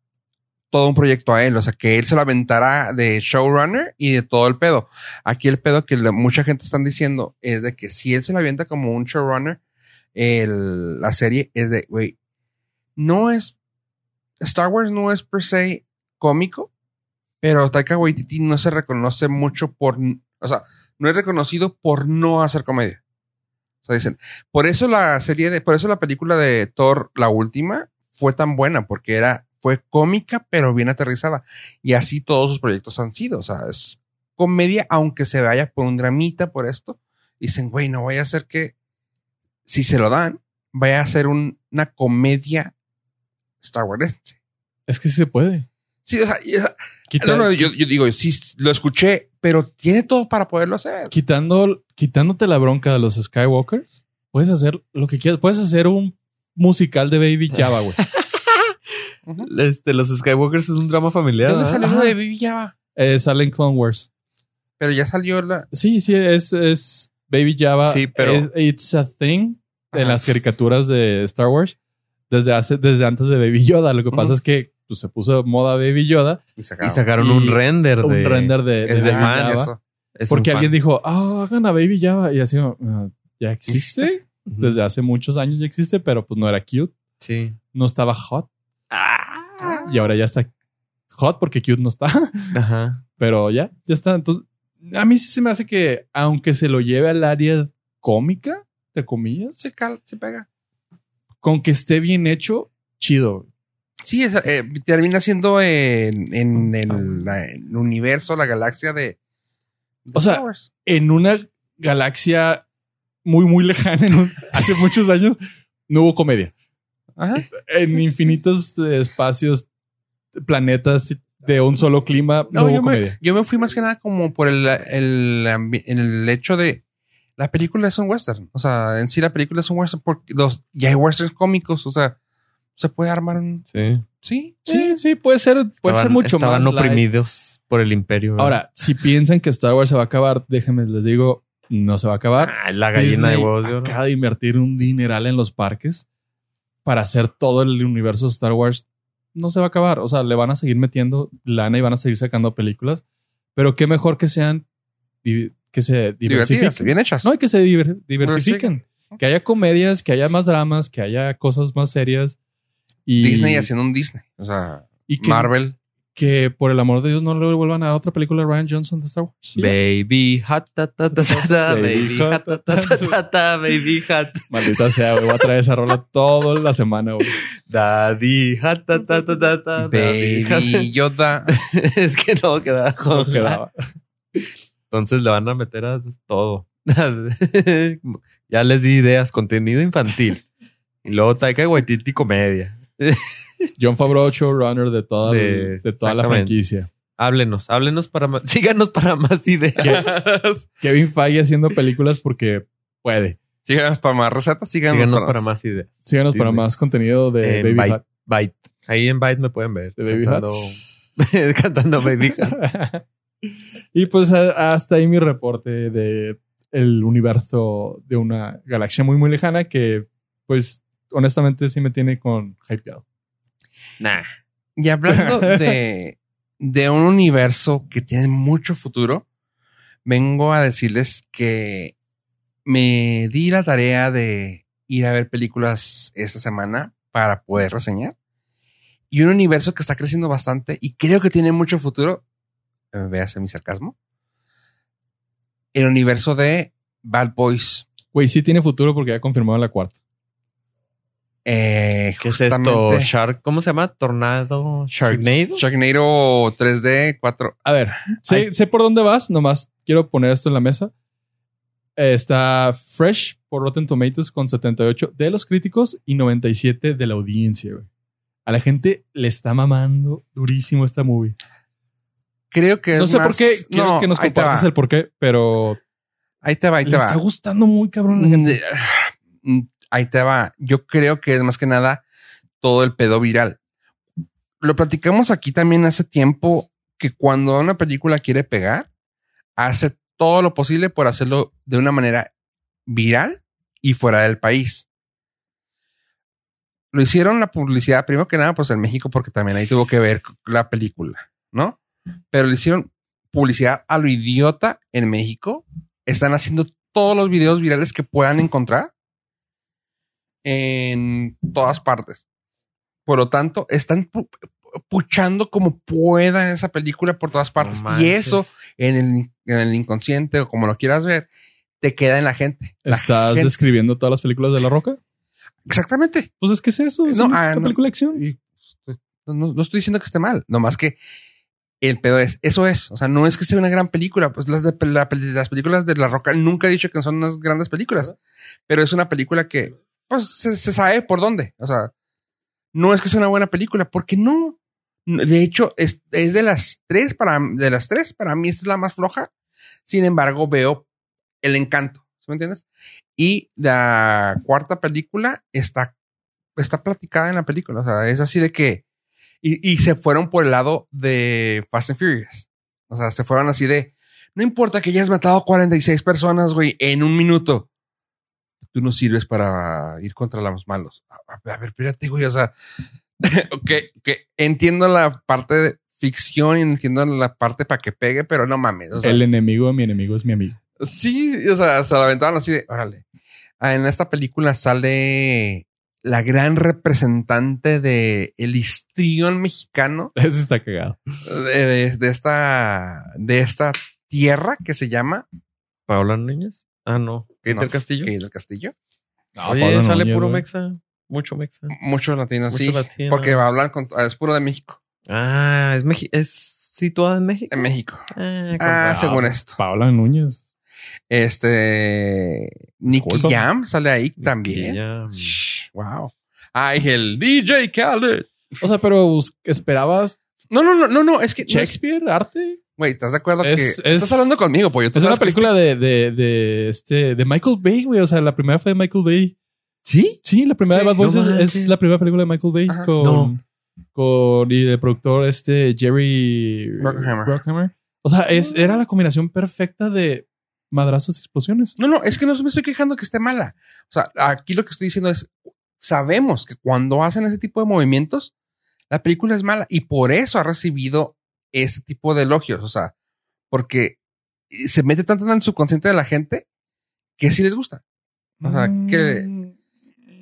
S1: todo un proyecto a él. O sea, que él se lo aventara de showrunner y de todo el pedo. Aquí el pedo que la- mucha gente están diciendo es de que si él se lo avienta como un showrunner, el- la serie es de, güey, no es. Star Wars no es per se cómico, pero Taika Waititi no se reconoce mucho por. O sea, no es reconocido por no hacer comedia. O sea, dicen. Por eso la serie de. Por eso la película de Thor, la última, fue tan buena, porque era. Fue cómica, pero bien aterrizada. Y así todos sus proyectos han sido. O sea, es comedia, aunque se vaya por un dramita, por esto. Dicen, güey, no vaya a ser que. Si se lo dan, vaya a ser un- una comedia Star Wars.
S2: Es que sí se puede.
S1: Sí, o sea, y esa-
S2: Quita-
S1: no, no, yo, yo digo, sí, lo escuché, pero tiene todo para poderlo hacer.
S2: quitando, quitándote la bronca de los Skywalkers, puedes hacer lo que quieras. Puedes hacer un musical de Baby
S1: [LAUGHS]
S2: Java, güey.
S3: Este, los Skywalkers es un drama familiar.
S1: ¿De dónde
S3: ¿verdad?
S1: salió lo
S3: Ajá.
S1: de Baby Java?
S2: Eh, sale en Clone Wars.
S1: Pero ya salió la.
S2: Sí, sí, es, es Baby Java.
S3: Sí, pero-
S2: Es- it's a thing
S1: Ajá.
S2: en las caricaturas de Star Wars desde, hace, desde antes de Baby Yoda. Lo que pasa
S1: Ujú.
S2: es que pues, se puso de moda Baby Yoda.
S1: Y
S3: Y
S1: sacaron.
S3: sacaron
S2: Y
S3: un render de.
S2: Un render de,
S3: es de
S2: Baby
S3: fan,
S2: Java,
S1: eso.
S3: es un
S2: porque alguien
S3: fan.
S2: dijo, ah, hagan a Baby Java. Y así, "Ah, ya existe.
S3: Ujú.
S2: Desde hace muchos años ya existe, pero pues no era cute.
S3: Sí.
S2: No estaba hot. Y ahora ya está hot porque cute no está. [LAUGHS]
S3: Ajá.
S2: Pero ya, ya está. Entonces, a mí sí se me hace que, aunque se lo lleve al área cómica, de comillas,
S1: Sí, cal, sí pega.
S2: con que esté bien hecho, chido.
S1: Sí, es, eh, termina siendo en, en el, la- el universo, la galaxia de. de
S2: O sea,
S1: Star Wars.
S2: en una galaxia muy, muy lejana, en un- [LAUGHS] hace muchos años, no hubo comedia.
S1: Ajá.
S2: En infinitos eh, espacios, planetas de un solo clima, no, Eh.
S1: No,
S2: hubo
S1: yo, me,
S2: comedia.
S1: yo me fui más que nada como por el, el, ambi- en el hecho de la película es un western. O sea, en sí la película es un western porque los, ya hay westerns cómicos. O sea, se puede armar un.
S3: Sí.
S1: Sí,
S2: Sí, sí, puede ser, puede ser
S3: Estaban-
S2: mucho más.
S3: Estaban
S2: light.
S3: oprimidos por el imperio. ¿verdad?
S2: Ahora, si piensan que Star Wars se va a acabar, déjenme les digo, no se va a acabar.
S3: Ah, la gallina de
S2: Disney
S3: huevos de oro.
S2: acaba de invertir un dineral en los parques para hacer todo el universo de Star Wars. No se va a acabar. O sea, le van a seguir metiendo lana y van a seguir sacando películas. Pero qué mejor que sean di- que se
S1: divertidas,
S2: diversifiquen.
S1: bien hechas.
S2: No, y que se diver- diversifiquen. Que haya comedias, que haya más dramas, que haya cosas más serias. Y,
S1: Disney haciendo un Disney. O sea,
S2: y que,
S1: Marvel.
S2: que por el amor de Dios no le vuelvan a dar otra película de Ryan Johnson de Star Wars. Sí.
S3: Baby hat, ta, ta, ta, ta,
S2: [LAUGHS]
S3: ta,
S2: Baby
S3: baby hat, ta, ta, ta, ta, ta, baby hat,
S2: Maldita sea, güey. Voy a traer esa rola toda la semana,
S3: [LAUGHS]
S2: güey.
S3: daddy hat, ta, ta, ta, ta, ta, daddy
S1: Baby
S2: [LAUGHS]
S1: Yoda.
S3: hat. [LAUGHS] Es que no quedaba con
S2: No quedaba.
S3: Entonces le van a meter a todo. [LAUGHS] ya les di ideas, contenido infantil. Y luego Taika Waititi comedia.
S2: John Favreau, showrunner de toda,
S3: De-
S2: de toda la
S3: exactamente.
S2: franquicia.
S3: Háblenos, háblenos para más, [LAUGHS] síganos para más ideas.
S2: Kevin Feige haciendo películas porque puede.
S1: Síganos para más recetas. Síganos,
S3: Síganos para más ideas.
S2: Síganos para
S3: Disney.
S2: más contenido de
S3: En
S2: Baby
S3: Byte.
S2: Hat.
S3: Byte. Ahí en Byte me pueden ver.
S2: De Baby
S3: cantando, [LAUGHS] cantando Baby Hat.
S2: [LAUGHS] y pues a- hasta ahí mi reporte de el universo de una galaxia muy muy lejana que pues honestamente sí me tiene con hypeado.
S3: Nah.
S1: Y
S2: [LAUGHS]
S1: hablando de, de un universo que tiene mucho futuro, vengo a decirles que me di la tarea de ir a ver películas esta semana para poder reseñar. Y un universo que está creciendo bastante y creo que tiene mucho futuro. eh, Véase mi sarcasmo. El universo de Bad Boys.
S2: Güey, sí tiene futuro porque ya confirmaron la cuarta.
S1: Eh,
S3: ¿Qué es esto?
S1: justamente
S3: Shark. ¿Cómo se llama? Tornado. Sharknado.
S1: Sharknado 3D 4.
S2: A ver, sé, sé por dónde vas, nomás quiero poner esto en la mesa. Eh, Está Fresh por Rotten Tomatoes con 78 de los críticos y 97 de la audiencia, güey. A la gente le está mamando durísimo esta movie.
S1: Creo que es
S2: No sé por
S1: más-
S2: qué, quiero
S1: No,
S2: que nos
S1: ahí te va.
S2: compartas el por qué, pero
S1: Ahí te va, ahí
S2: le
S1: te va.
S2: está gustando muy cabrón a la gente.
S1: Mm, Ahí te va. Yo creo que es más que nada todo el pedo viral. Lo platicamos aquí también hace tiempo que cuando una película quiere pegar, hace todo lo posible por hacerlo de una manera viral y fuera del país. Lo hicieron la publicidad, primero que nada, pues en México, porque también ahí tuvo que ver la película, ¿no? Pero le hicieron publicidad a lo idiota en México están haciendo todos los videos virales que puedan encontrar en todas partes. Por lo tanto, están pu- puchando como puedan esa película por todas partes.
S3: No
S1: y
S3: manches.
S1: eso en el, en el inconsciente o como lo quieras ver, te queda en la gente. La
S2: ¿Estás
S1: gente-
S2: describiendo todas las películas de La Roca?
S1: Exactamente.
S2: Pues es que es eso. Es
S1: No,
S2: una
S1: ah, no.
S2: película de acción.
S1: Y este, no, no estoy diciendo que esté mal, nomás que el pedo es, eso es. O sea, no es que sea una gran película. Pues las, de, la- las películas de La Roca nunca he dicho que son unas grandes películas, pero es una película que pues, se, se sabe por dónde. O sea, no es que sea una buena película, porque no. De hecho, es, es de las tres para de las tres, para mí esta es la más floja. Sin embargo, veo el encanto. ¿sí ¿Me entiendes? Y la cuarta película está, está platicada en la película. O sea, es así de que. Y, y se fueron por el lado de Fast and Furious. O sea, se fueron así de. No importa que hayas matado 46 personas, güey, en un minuto. Tú no sirves para ir contra los malos. A, a- a ver, espérate, güey. O sea, [LAUGHS] que, que entiendo la parte de ficción y entiendo la parte para que pegue, pero no mames. O sea,
S2: el enemigo de mi enemigo es mi amigo. [LAUGHS]
S1: Sí, o sea, se la aventaban así de, órale. Ah, En esta película sale la gran representante de el histrión mexicano
S2: Eso está cagado.
S1: de, de- de esta de esta tierra que se llama
S3: Paola Núñez. Ah, no. Kate
S1: No.
S3: del Castillo.
S1: Kate del Castillo.
S2: No,
S3: Oye,
S2: Pablo
S3: sale
S2: Núñez,
S3: puro
S2: güey.
S3: mexa. Mucho mexa.
S1: Mucho latino,
S3: Mucho
S1: sí.
S3: latino.
S1: Porque va a hablar con. Es puro de México.
S3: Ah, es, Meji- es situada en México.
S1: De México.
S3: Ah,
S1: Ah,
S2: Ah,
S1: según esto.
S2: Paola Núñez.
S1: Este. Nicky
S2: Disculpa.
S1: Jam sale ahí también.
S3: También.
S1: Shh, Wow. Ay, el DJ Khaled.
S2: O sea, pero bus- esperabas
S1: No, no, no, no, no.
S2: Eh,
S1: Es que. no es-
S2: Shakespeare, arte.
S1: Güey, ¿estás de acuerdo
S2: Es-
S1: que.
S2: es-
S1: estás hablando conmigo, pollo. ¿Tú
S2: Es una
S1: sabes que
S2: película de, de, de, este, de Michael Bay, güey. O sea, la primera fue de Michael Bay.
S3: ¿Sí?
S2: Sí, la primera
S1: Sí,
S2: de Bad Boys
S3: no
S2: es- es,
S3: manches.
S2: la primera película de Michael Bay
S1: Ajá.
S2: con,
S3: No.
S2: con y el productor este Jerry
S1: Bruckheimer.
S2: Bruckheimer. Mm. O sea, es, era la combinación perfecta de madrazos y explosiones.
S1: No, no, es que no me estoy quejando que esté mala. O sea, aquí lo que estoy diciendo es, sabemos que cuando hacen ese tipo de movimientos, la película es mala y por eso ha recibido ese tipo de elogios. O sea, porque eh, se mete tanto en el subconsciente de la gente que sí les gusta. O sea,
S2: Mm.
S1: que-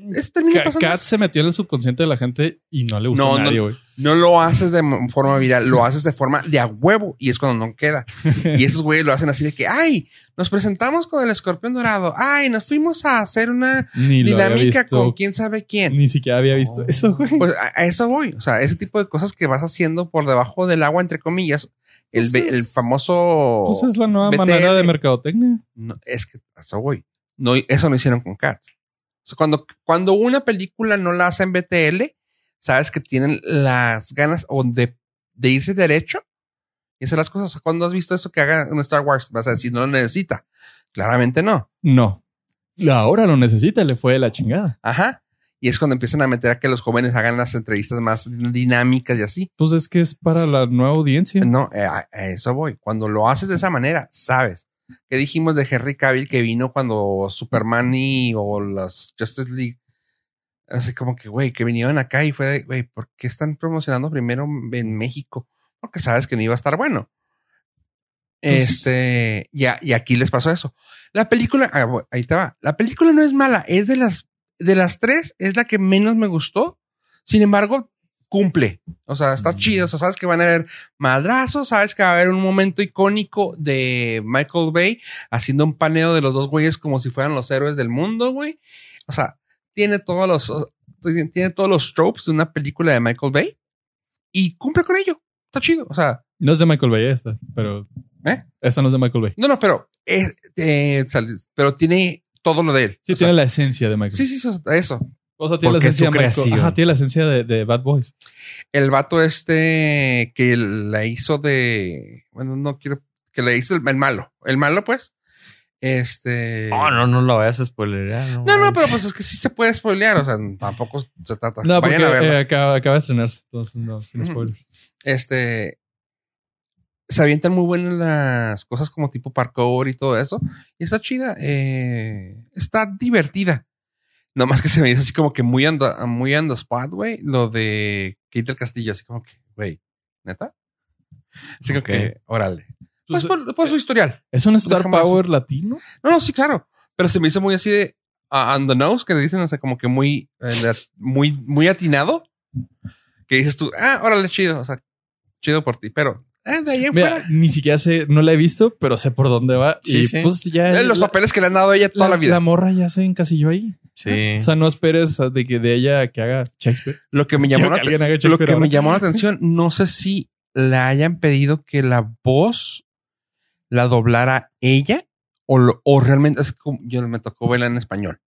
S1: Eso termina
S2: Ca-
S1: pasando.
S2: Cat se metió en el subconsciente de la gente y no le gustó
S1: No,
S2: a
S1: no.
S2: nadie, güey.
S1: No lo haces de mo- forma viral, lo haces de forma de a huevo y es cuando no queda. Y esos güeyes lo hacen así de que, ay, nos presentamos con el escorpión dorado, ay, nos fuimos a hacer una
S2: Ni lo había
S1: dinámica
S2: visto.
S1: con quién sabe quién.
S2: Ni siquiera había visto
S3: Oh.
S2: eso, güey.
S1: Pues a, a eso voy. O sea, ese tipo de cosas que vas haciendo por debajo del agua, entre comillas, el,
S2: Pues
S1: ve- el
S2: es-
S1: famoso.
S2: Pues es la nueva
S1: BTL.
S2: manera de mercadotecnia.
S1: No, es que a eso voy. No, eso no hicieron con Cats. O sea, cuando, cuando una película no la hacen BTL, sabes que tienen las ganas o de, de irse derecho y hacer las cosas. Cuando has visto eso que haga en Star Wars, vas a decir, no lo necesita. Claramente no.
S2: No. Ahora lo necesita, le fue de la chingada.
S1: Ajá. Y es cuando empiezan a meter a que los jóvenes hagan las entrevistas más dinámicas y así.
S2: Pues es que es para la nueva audiencia.
S1: No, eh, a, a eso voy. Cuando lo haces de esa manera, sabes. ¿Qué dijimos de Henry Cavill que vino cuando Superman y o las Justice League? Así como que, güey, que vinieron acá y fue de, güey, ¿por qué están promocionando primero en México? Porque sabes que no iba a estar bueno.
S2: Pues-
S1: Este, y, a- y aquí les pasó eso. La película, ah, bu- ahí te va. La película no es mala, es de las, de las tres, es la que menos me gustó. Sin embargo, cumple. O sea, está
S2: Mm.
S1: chido. O sea, sabes que van a haber madrazos, sabes que va a haber un momento icónico de Michael Bay haciendo un paneo de los dos güeyes como si fueran los héroes del mundo, güey. O sea, tiene todos los, tiene todos los tropes de una película de Michael Bay y cumple con ello. Está chido. O sea,
S2: No es de Michael Bay esta, pero.
S1: ¿Eh?
S2: Esta no es de Michael Bay.
S1: no, no, pero, es- eh, sal- pero tiene todo lo de él.
S2: Sí,
S1: O sea,
S2: tiene la esencia de Michael
S1: sí, sí, eso- eso.
S2: O sea, tiene la
S3: Porque es
S2: esencia
S3: su
S2: de Michael.
S3: creación.
S2: Ajá, tiene la esencia de, de Bad Boys.
S1: el vato este que la hizo de. Bueno, no quiero. Que le hizo el, el malo. El malo, pues. Este.
S3: Oh, no, no lo vayas a spoilerear.
S1: No, no,
S3: manches.
S1: pero pues es que sí se puede spoilear. O sea, tampoco se trata.
S2: No, porque
S1: Ah, Vayan a verla. Mm.
S2: eh, acaba, acaba de estrenarse. Entonces, no, sin
S1: Ujú.
S2: spoilers.
S1: Este. Se avientan muy buenas las cosas como tipo parkour y todo eso. Y está chida. eh, está divertida. Nomás que se me hizo así como que muy on the- muy on the spot, güey. Lo de Kate del Castillo. Así como que, güey, ¿neta? Así como
S3: pues, Ok.
S1: que, órale. Pues
S2: Entonces,
S1: por, pues por su historial.
S2: ¿Es un Star
S1: déjame ver
S2: Power latino?
S1: No, no, sí, claro. Pero se me hizo muy así de ah, on the nose, que dicen, o sea, como que muy, eh, de- muy, muy atinado. Que dices tú, ah, órale, chido. O sea, chido por ti. Pero eh, de ahí en
S2: Mira,
S1: fuera.
S2: ni siquiera sé, no la he visto, pero sé por dónde va.
S3: Sí,
S2: y
S3: sí.
S2: pues ya.
S1: eh, los
S2: la-
S1: papeles que le han dado a ella toda la, vida.
S2: La morra ya se encasilló ahí.
S3: Sí.
S2: O sea, no esperes a- de que de ella que haga Shakespeare.
S1: lo que me
S2: Quiero
S1: llamó
S2: que
S1: la,
S2: alguien haga Shakespeare.
S1: lo que
S2: ahora.
S1: me llamó
S2: [LAUGHS]
S1: la atención, no sé si le hayan pedido que la voz la doblara ella o, lo- o realmente es como yo me tocó verla en español.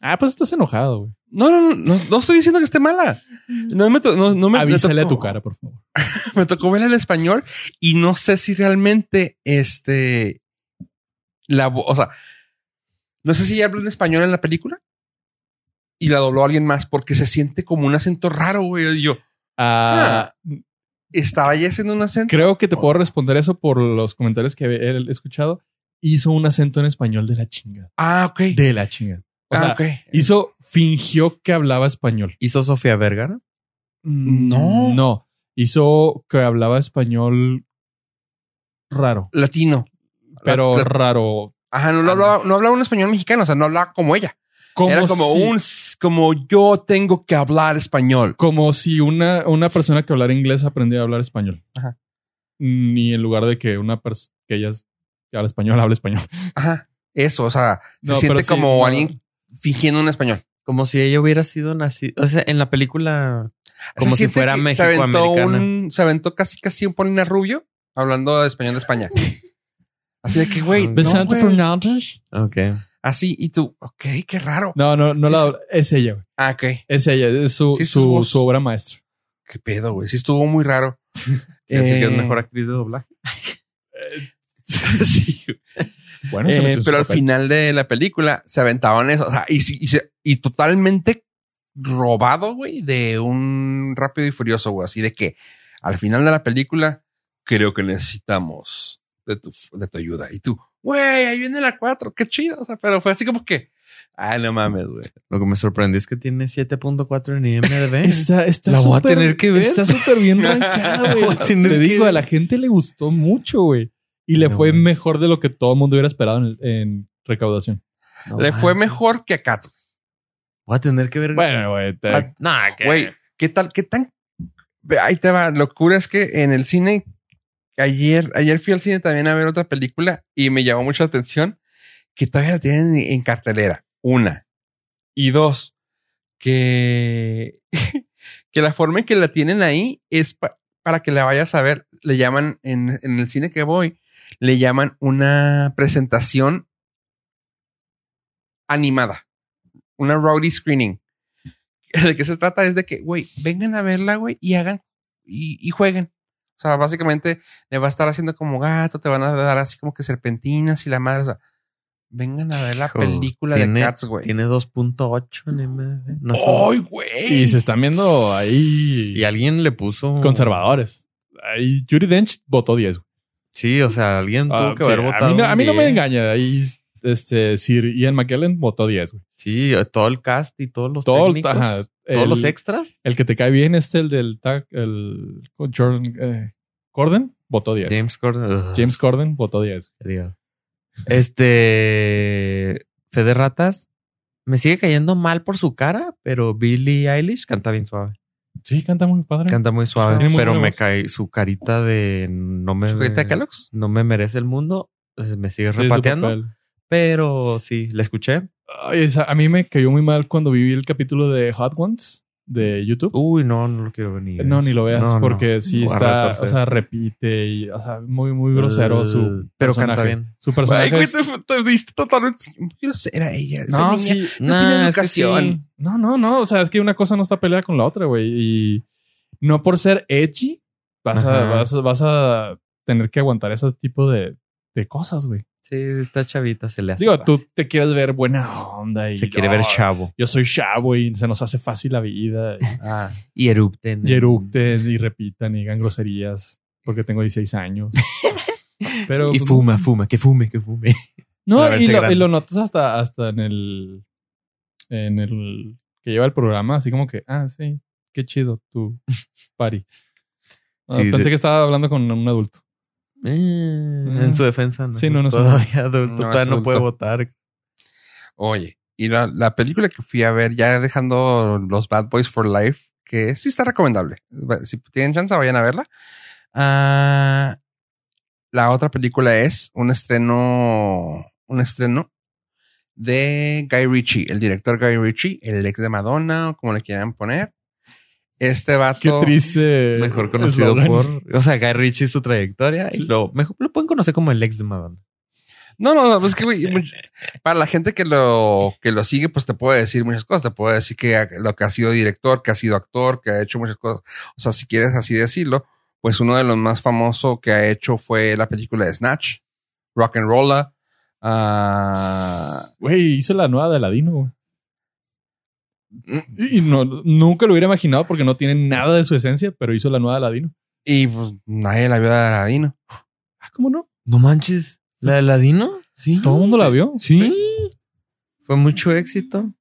S2: Ah, pues estás enojado, güey.
S1: No, no, no, no, no estoy diciendo que esté mala. No me, to- no, no me me
S2: Avísale a
S1: tocó-
S2: tu cara, por favor.
S1: me tocó ver el español y no sé si realmente este la vo- o sea no sé si ella habló en español en la película y la dobló alguien más porque se siente como un acento raro güey y yo
S2: Ah,
S1: estaba ya haciendo un acento
S2: Creo que te puedo responder eso por los comentarios que he he escuchado. Hizo un acento en español de la chinga.
S1: ah ok
S2: De la chinga. O sea,
S1: ah, ok.
S2: hizo, fingió que hablaba español.
S3: ¿Hizo Sofía Vergara?
S1: No.
S2: No. Hizo que hablaba español raro,
S1: latino
S2: pero
S1: La- la-
S2: raro.
S1: ajá no, lo hablaba no hablaba un español mexicano o sea no hablaba como ella
S2: Como
S1: era como
S2: si-
S1: un como yo tengo que hablar español
S2: Como si una, una persona que hablara inglés aprendiera a hablar español.
S1: Ajá.
S2: Ni en lugar de que una persona que ella es- que [LAUGHS] habla español, hable español.
S1: ajá eso o sea se
S2: No, pero
S1: siente
S2: sí,
S1: como
S2: no.
S1: alguien fingiendo un español
S3: Como si ella hubiera sido nacida. O sea, en la película,
S1: O sea,
S3: como si
S1: siente
S3: fuera
S1: que
S3: México
S1: se aventó,
S3: americana.
S1: un, se aventó casi casi un Paulina Rubio hablando de español de
S3: [LAUGHS]
S1: España. Así de que,
S3: Ah,
S1: güey, no,
S2: Vicente
S1: güey.
S2: Fernández.
S3: Ok.
S1: así y tú, ok, qué raro.
S2: No, no, no la es ella, güey.
S1: Ah, ok,
S2: Es ella, es su,
S1: Sí, es su
S2: su,
S1: voz.
S2: su obra maestra.
S1: qué pedo, güey. Sí estuvo muy
S3: [LAUGHS]
S1: raro.
S3: Quiere decir que es
S1: Eh,
S3: mejor actriz de doblaje. [LAUGHS]
S1: sí, güey.
S3: Ah,
S2: Bueno,
S1: Eh, pero al final de la película se aventaban eso. O sea, y, sí- y se- y totalmente robado, güey, de un rápido y furioso, güey. Así de que al final de la película, creo que necesitamos de tu, de tu ayuda. Y tú, güey, ahí viene la 4, qué chido. O sea, pero fue así como que, ah, no mames, güey.
S3: Lo que me sorprendió es que tiene 7.4 en [LAUGHS] IMDb.
S2: Está, está
S3: La voy a
S2: súper-
S3: tener que ver.
S2: Está
S1: [LAUGHS]
S2: súper bien rankeada,
S1: La voy
S2: güey.
S1: a
S3: tener
S2: Te
S3: que
S2: digo,
S3: ver.
S2: a la gente le gustó mucho, güey. Y le
S3: No,
S2: fue
S3: güey.
S2: mejor de lo que todo el mundo hubiera esperado en, en recaudación.
S3: No
S1: Le fue
S3: manches.
S1: mejor que a Cats.
S3: Voy a tener que ver.
S2: Bueno, eh, güey. te-
S3: Ah, nah, que-
S1: Güey, ¿qué tal? ¿Qué tan? Ve, Ahí te va. Locura es que en el cine, ayer, ayer fui al cine también a ver otra película y me llamó mucho la atención que todavía la tienen en cartelera. Una. Y dos, que, [LAUGHS] que la forma en que la tienen ahí es pa- para que la vayas a ver. Le llaman, en, en el cine que voy, le llaman una presentación animada. Una rowdy screening. [LAUGHS] ¿De qué se trata? Es de que, güey, vengan a verla, güey, y hagan, y, y jueguen. O sea, básicamente le va a estar haciendo como gato, te van a dar así como que serpentinas y la madre. O sea, vengan a ver la
S3: Hijo,
S1: película
S3: tiene-
S1: de Cats, güey.
S3: Tiene 2.8 en IMDb. No sé.
S1: ¡Ay, güey!
S2: Y se están viendo ahí
S3: Y alguien le puso.
S2: conservadores. Ahí Yuri Dench votó 10. güey.
S3: Sí, o sea, alguien
S2: Ah,
S3: tuvo que
S2: sí,
S3: haber votado.
S2: a mí no,
S3: un
S2: a mí no me
S3: 10.
S2: engaña. Ahí este, Sir Ian McKellen votó 10. güey.
S3: Sí, eh, todo el cast y todos los
S2: Todo,
S3: técnicos,
S2: ajá,
S3: todos
S2: el-
S3: los extras.
S2: El que te cae bien este, el del tag, el Jordan, eh, Gordon, votó 10.
S3: James Corden. ugh,
S2: James Corden votó 10.
S3: sería. Este Fede Ratas me sigue cayendo mal por su cara, pero Billie Eilish canta bien suave.
S2: Sí, canta muy padre.
S3: Canta muy suave,
S2: Mm. Tiene muy
S3: pero
S2: buena
S3: me
S2: voz.
S3: cae su carita de no me
S1: ¿Su carita de Kellogg's?
S3: no me merece el mundo. pues, Me sigue
S2: Sí, su
S3: repateando,
S2: papel.
S3: pero sí, la escuché.
S2: Ay, esa- a mí me cayó muy mal cuando vi el capítulo de Hot Ones de YouTube.
S3: Uy, no, no lo quiero venir.
S2: no, ni lo veas
S3: no, no.
S2: porque sí
S3: Voy a
S2: está,
S3: retorcer.
S2: o sea, repite y, o sea, muy, muy grosero su.
S3: Pero
S2: personaje.
S3: canta bien.
S2: Su
S1: Güey,
S2: personaje.
S1: güey,
S2: es-
S1: te, te diste totalmente. Yo era ella. esa
S2: no,
S1: niña.
S2: sí.
S1: No tiene educación.
S2: No, no, no. O sea, es que una cosa no está peleada con la otra, güey. Y no por ser edgy vas a,
S3: Ajá.
S2: vas, vas a tener que aguantar ese tipo de, de cosas, güey.
S3: Sí, esta chavita se le hace.
S2: Digo,
S3: fácil.
S2: tú te quieres ver buena onda y.
S3: se quiere ver
S2: no,
S3: chavo.
S2: Yo soy chavo y se nos hace fácil la vida. y-
S3: [LAUGHS] Y
S2: ah.
S3: erupten.
S2: y eructen y repitan y digan groserías porque tengo 16
S3: [LAUGHS]
S2: años. Pero,
S3: y
S2: pues,
S3: fuma, fuma, que fume, que fume.
S2: No,
S3: para
S2: y
S3: verse
S2: lo,
S3: grande.
S2: y lo notas hasta, hasta en el. En el que lleva el programa, así como que, ah, sí, qué chido
S3: [LAUGHS]
S2: tu party. Ah,
S3: Sí,
S2: pensé
S3: de- Eh,
S2: que estaba hablando con un adulto. Ah,
S3: en su defensa, no.
S2: Mm. Sí, no, no es
S3: Todavía adulto,
S1: No es
S3: todavía no
S1: adulto.
S3: puede votar.
S1: Oye, y la, la película que fui a ver, ya dejando los Bad Boys for Life, que sí está recomendable. Si tienen chance, vayan a verla. Ah, la otra película es un estreno, un estreno de Guy Ritchie, el director Guy Ritchie, el ex de Madonna, o como le quieran poner. Este vato.
S2: Qué triste.
S3: Mejor conocido
S2: eslogan.
S3: por. O sea, Guy Ritchie su trayectoria.
S2: Sí.
S3: Y lo, mejor, lo pueden conocer como el ex de Madonna.
S1: No, no, no, pues es que, güey, much- para la gente que lo, que lo sigue, pues te puede decir muchas cosas. Te puede decir que ha- lo que ha sido director, que ha sido actor, que ha hecho muchas cosas. O sea, si quieres así decirlo, pues uno de los más famosos que ha hecho fue la película de Snatch, Rock and Roller. ah,
S2: Güey, hizo la nueva de Aladino, güey. Y y no, nunca lo hubiera imaginado porque no tiene nada de su esencia, pero hizo la nueva de Aladino.
S1: y pues nadie la vio de Aladino.
S2: Ah, ¿cómo no?
S3: No manches. ¿La de Ladino? Sí.
S2: Todo el mundo la vio.
S3: Sí. Fue mucho éxito.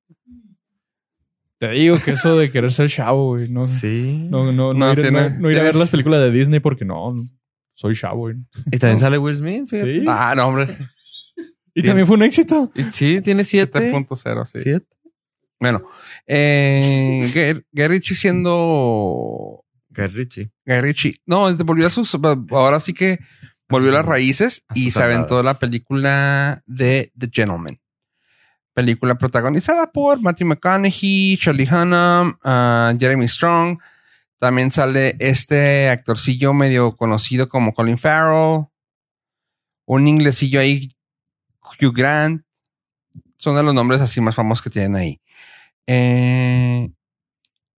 S2: Te digo que eso de querer ser chavo, güey, no,
S3: Sí.
S2: no, no, no,
S1: No,
S2: ir,
S1: tiene-
S2: no- no ir a ver
S1: tienes-
S2: las películas de Disney porque no, soy chavo, güey.
S3: Y también sale Will Smith. fíjate.
S2: Sí.
S1: Ah, no, hombre.
S2: Y también fue un éxito.
S3: Y Sí, tiene siete.
S1: 7.0, sí.
S3: Siete.
S1: Bueno, eh, Guy- Guy Ritchie siendo
S3: Guy Ritchie.
S1: Guy Ritchie. No, volvió a sus. Ahora sí que volvió a las raíces
S3: a
S1: y
S3: sus
S1: se aventó
S3: andadas.
S1: la película de The Gentleman. película protagonizada por Matthew McConaughey, Charlie Hunnam, ah, Jeremy Strong. También sale este actorcillo medio conocido como Colin Farrell. Un inglesillo ahí, Hugh Grant. Son de los nombres así más famosos que tienen ahí. Eh,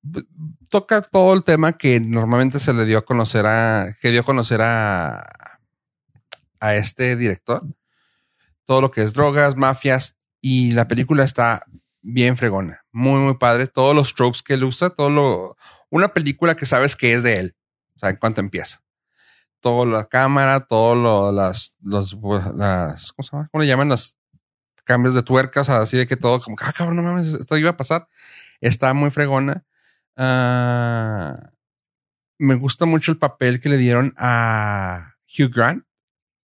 S1: b- toca todo el tema que normalmente se le dio a conocer a. que dio a conocer a. a este director. Todo lo que es drogas, mafias. Y la película está bien fregona. Muy, muy padre. Todos los tropes que él usa, todo lo una película que sabes que es de él. O sea, en cuanto empieza. Todo la cámara, todo lo- las, los, las, ¿cómo se llama? ¿Cómo le llaman? Los cambios de tuerca, o sea, así de que todo como, ah, cabrón, no mames, esto iba a pasar. Está muy fregona. Ah, me gusta mucho el papel que le dieron a Hugh Grant.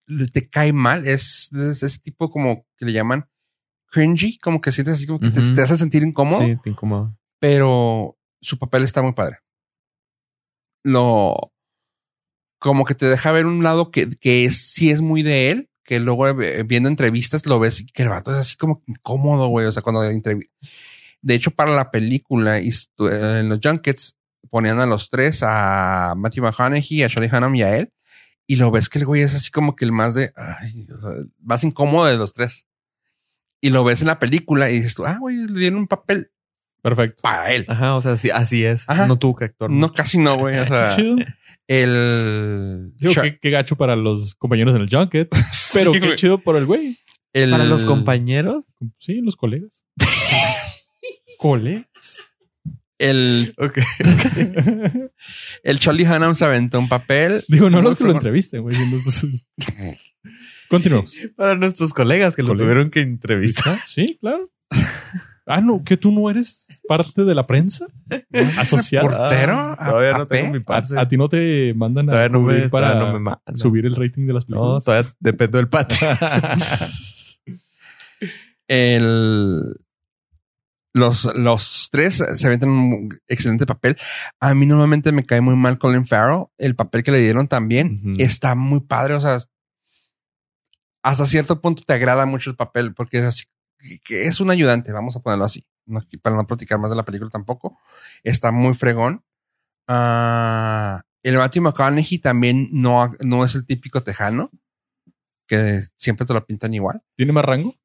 S1: Le- Te cae mal, es, es ese tipo como que le llaman cringy, como que sientes así como que te- te,
S3: Ujú.
S1: hace sentir incómodo
S3: Sí, te incomoda.
S1: pero su papel está muy padre. Lo. Como que te deja ver un lado que, que es- sí es muy de él, que luego eh, viendo entrevistas lo ves y que el vato es así como incómodo, güey. O sea, cuando entrevi- De hecho, para la película, y estu- eh, en los Junkets ponían a los tres, a Matthew McConaughey, a Charlie Hunnam y a él. Y lo ves que el güey es así como que el más de, ay, o sea, más incómodo de los tres. Y lo ves en la película y dices tú, ah, güey, le dieron un papel
S2: Perfecto.
S1: para él.
S3: Ajá, o sea, sí, así es.
S1: Ajá.
S3: No tuvo que actuar.
S1: No, casi no, güey. O
S3: Ah,
S1: sea,
S2: Qué chido.
S1: el.
S2: Digo,
S1: [LAUGHS] Char-
S2: qué, qué gacho para los compañeros en el
S3: [LAUGHS]
S2: junket. Pero
S1: Sí,
S2: qué
S1: güey.
S2: chido por el güey.
S1: El-
S3: Para los compañeros.
S2: Sí, los
S3: [LAUGHS]
S2: colegas. ¿Cole?
S1: El,
S3: Ok.
S1: el Charlie Hunnam se aventó un papel.
S2: [LAUGHS] Digo, no
S1: Muy
S2: los que lo
S1: fregón.
S2: entrevisten, güey. no los- Continuamos.
S3: [LAUGHS] Para nuestros colegas que lo
S2: Colegas.
S3: tuvieron que entrevistar.
S2: Sí, claro. Ah, no, que tú no eres parte de la prensa
S3: [LAUGHS]
S2: asociada.
S1: ¿Portero?
S3: Ah, Todavía
S1: ¿A-
S3: no
S1: a P?
S3: tengo mi pase.
S2: A, a ti no te mandan a
S3: Todavía no me,
S2: cubrir para
S3: todavía no me mandan.
S2: subir el rating de las
S3: No,
S2: películas.
S3: todavía dependo del patio.
S1: El. Los, los tres se aventan un excelente papel. A mí normalmente me cae muy mal Colin Farrell. El papel que le dieron también
S3: Ujú.
S1: está muy padre. O sea, hasta cierto punto te agrada mucho el papel porque es así, que es un ayudante, vamos a ponerlo así, no- para no platicar más de la película tampoco. Está muy fregón. Ah, el Matthew McConaughey también no, no es el típico tejano, que siempre te lo pintan igual.
S2: ¿Tiene más rango?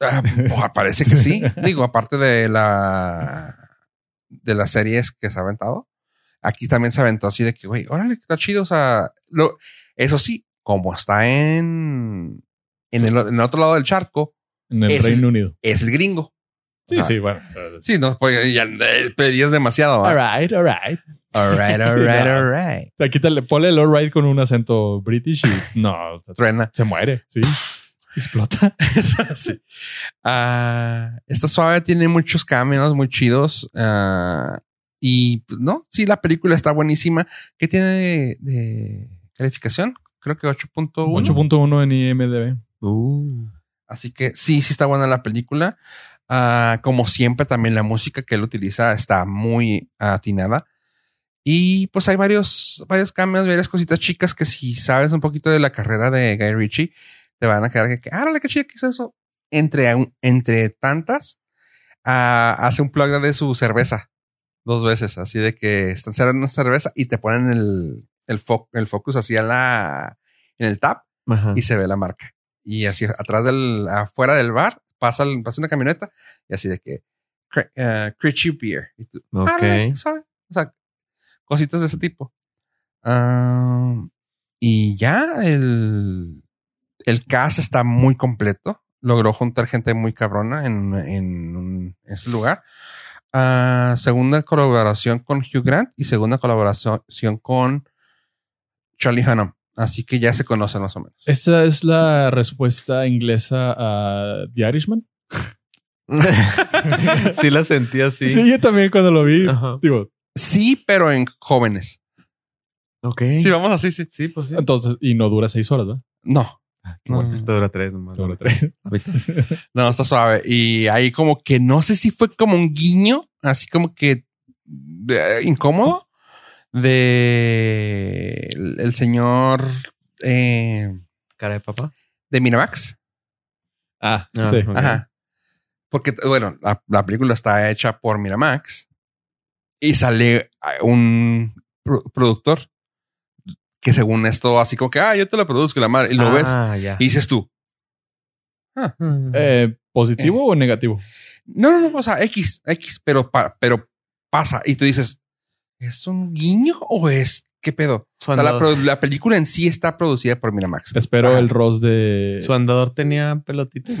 S1: Ah, pues, parece que sí. Digo, aparte de la de las series que se ha aventado, aquí también se aventó así de que, güey, órale, está chido. O sea, lo- eso sí, como está en, en, el, en el otro lado del charco,
S2: En el
S1: Es-
S2: Reino Unido.
S1: es el gringo.
S2: Sí,
S1: Ajá.
S2: sí, bueno.
S1: Sí, no, pues ya eh, pedías demasiado. ¿va?
S2: Alright, alright.
S1: Alright,
S2: Sí, no.
S1: alright.
S2: Aquí te le ponle el alright con un acento british y [LAUGHS] no,
S1: Truena.
S2: se muere, sí. Explota.
S1: Sí. Ah, está suave, tiene muchos cameos muy chidos. ah, y pues, no, sí, la película está buenísima. ¿Qué tiene de, de calificación? Creo que 8.1.
S2: 8.1 en IMDB.
S3: Uh,
S1: Así que sí, sí está buena la película. Ah, como siempre, también la música que él utiliza está muy atinada. Y pues hay varios, varios cambios, varias cositas chicas que si sabes un poquito de la carrera de Guy Ritchie, te van a quedar que, ah, órale, qué chido que hizo eso. Entre, un- entre tantas, ah, hace un plug de su cerveza dos veces, así de que están cerrando una cerveza y te ponen el, el, fo- el focus hacia la, en el tap
S3: Ajá.
S1: y se ve la marca. Y así atrás del, afuera del bar, pasa, el- pasa una camioneta y así de que cr- eh, Critchy Beer. Y tú, ah,
S3: Ok.
S1: órale, qué suave. O sea, cositas de ese tipo. Ah, y ya el, el cast está muy completo. Logró juntar gente muy cabrona en, en, un- ese lugar. Ah, segunda colaboración con Hugh Grant y segunda colaboración con Charlie Hunnam. Así que ya se conocen más o menos.
S2: Esta es la respuesta inglesa a The Irishman.
S3: sí la sentí así.
S2: Sí, yo también cuando lo vi,
S3: Ajá.
S2: digo,
S1: [LAUGHS] Sí, pero en jóvenes.
S3: Ok.
S1: Sí, vamos así, sí.
S3: Sí, pues sí.
S2: entonces, y no dura seis horas, ¿verdad?
S1: No,
S3: Qué bueno,
S1: no.
S3: Esto dura tres nomás.
S2: Dura tres.
S3: Ahorita.
S1: no, está suave. Y ahí como que no sé si fue como un guiño, así como que eh, incómodo de el, el señor eh,
S3: Cara de papá.
S1: de Miramax.
S2: [LAUGHS] Ah,
S3: Ah,
S2: sí.
S3: ok.
S1: Ajá. Porque, bueno, la, la película está hecha por Miramax y sale ah, un pro- productor que según esto, así como que, ah, yo te la produzco y la madre, y lo ves
S3: Ah, ya.
S1: y dices tú,
S2: Eh, ¿Positivo o negativo?
S1: no, no, no, o sea, X, X, pero, pa- pero pasa y tú dices, ¿es un guiño o es qué pedo?
S3: su,
S1: O sea, la,
S3: andador,
S1: pro- la película en sí está producida por Miramax. Ah.
S2: Espero
S1: [LAUGHS] Ajá.
S2: el rostro de.
S3: su andador tenía pelotitas.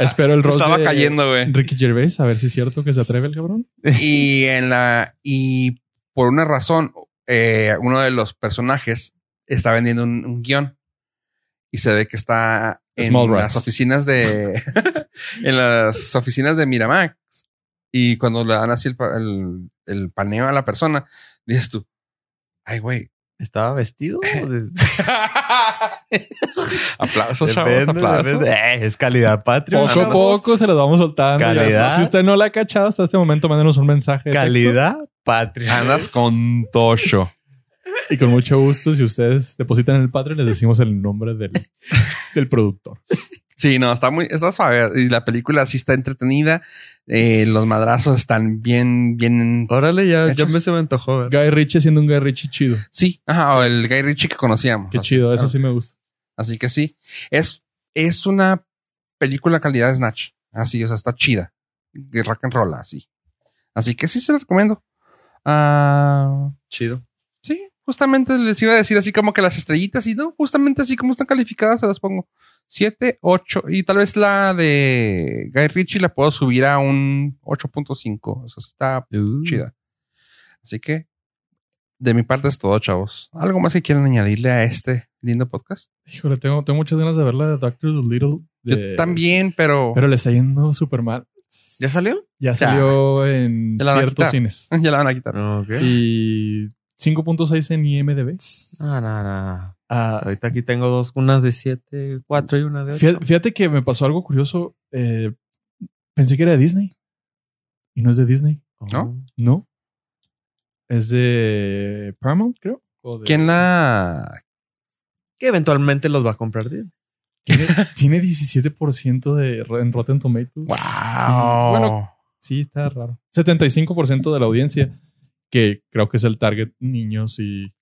S2: Espero el rostro
S1: Estaba
S2: de
S1: cayendo, güey.
S2: Ricky Gervais, a ver si es cierto que se atreve el cabrón.
S1: y en la y por una razón eh, uno de los personajes está vendiendo un, un guión y se ve que está en
S2: Small
S1: las
S2: rats.
S1: oficinas de [LAUGHS] en las oficinas de Miramax y cuando le dan así el, pa- el, el paneo a la persona dices tú ay [LAUGHS] güey
S3: Estaba [LAUGHS] vestido. de-
S1: aplausos chavos,
S3: Depende,
S1: aplausos
S3: depende. Eh, es calidad patria.
S2: Poco a
S3: Aplausos.
S2: poco se las vamos soltando. Ya,
S3: Calidad.
S2: Si usted no la ha cachado hasta este momento, mándenos un mensaje. de
S3: Calidad patria.
S1: andas con tocho
S2: texto Y con mucho gusto, si ustedes depositan en el Patreon, les decimos el nombre del, del productor.
S1: Sí, no, está muy, está suave. Y la película sí está entretenida. Eh, los madrazos están bien, bien.
S3: Órale, ya, ya
S1: Hechos.
S3: me se me antojó. ver.
S2: Guy Ritchie siendo un Guy Ritchie chido.
S1: Sí, ajá, o el Guy Ritchie que conocíamos.
S2: Qué
S1: Así-
S2: chido, eso sí me gusta.
S1: Así que sí. Es, es una película calidad de Snatch. Así, o sea, está chida. De rock and roll, así. Así que sí se la recomiendo. Ah,
S3: Chido.
S1: sí, justamente les iba a decir así como que las estrellitas y no, justamente así como están calificadas, se las pongo. Siete, ocho, y tal vez la de Guy Ritchie la puedo subir a un 8.5. O sea, sí está
S3: Uh.
S2: Mm.
S1: chida. Así que, de mi parte es todo, chavos. ¿Algo más que quieran añadirle a este lindo podcast?
S2: Híjole, tengo, tengo muchas ganas de verla de Doctor Dolittle. de-
S1: Yo también, pero,
S2: Pero le está yendo súper mal.
S3: ¿Ya salió?
S2: Ya salió en
S1: Ya la van a
S2: ciertos
S1: quitar.
S2: cines.
S1: [LAUGHS] ya la van a quitar.
S3: Ok.
S2: Y 5.6 en IMDB.
S3: No, no, no.
S2: Ah,
S3: Ah, Ahorita aquí tengo dos, unas de siete, cuatro y una de ocho.
S2: Fíjate, fíjate que me pasó algo curioso. Eh, pensé que era de Disney. Y no es de Disney.
S3: Oh.
S1: ¿No?
S2: No. Es de Paramount, creo. O de-
S1: ¿Quién la...?
S3: Que eventualmente los va a comprar. Disney.
S2: Tiene, tiene 17% de ro- en Rotten Tomatoes.
S1: ¡Wow!
S2: Sí. Bueno, sí, está raro. 75% de la audiencia, que creo que es el target niños y...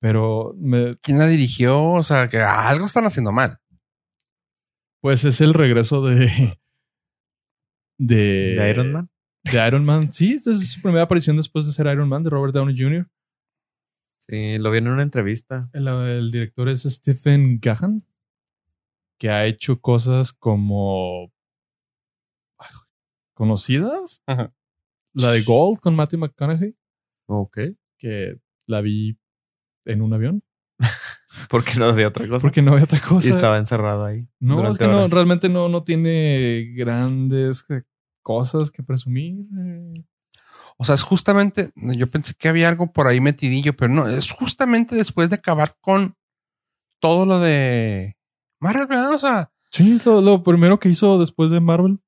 S2: Pero me-
S1: ¿Quién la dirigió? O sea, que algo están haciendo mal.
S2: pues es el regreso de... De,
S3: ¿De Iron Man?
S2: De Iron Man. Sí, esta es su primera aparición después de ser Iron Man de Robert Downey Jr.
S3: Sí, lo vi en una entrevista.
S2: El, el director es Stephen Gahan, que ha hecho cosas como ah, conocidas.
S1: Ajá.
S2: La de Gold con Matthew McConaughey,
S3: Ok.
S2: que la vi en un avión.
S3: Porque no vi otra cosa.
S2: Porque no había otra cosa.
S3: y estaba encerrado ahí.
S2: no, es
S3: durante
S2: que no,
S3: horas.
S2: realmente no, no tiene grandes eh, cosas que presumir. eh.
S1: O sea, es justamente... Yo pensé que había algo por ahí metidillo, pero no. Es justamente después de acabar con todo lo de... Marvel, ¿verdad? O sea,
S2: Sí, es lo, lo primero que hizo después de Marvel.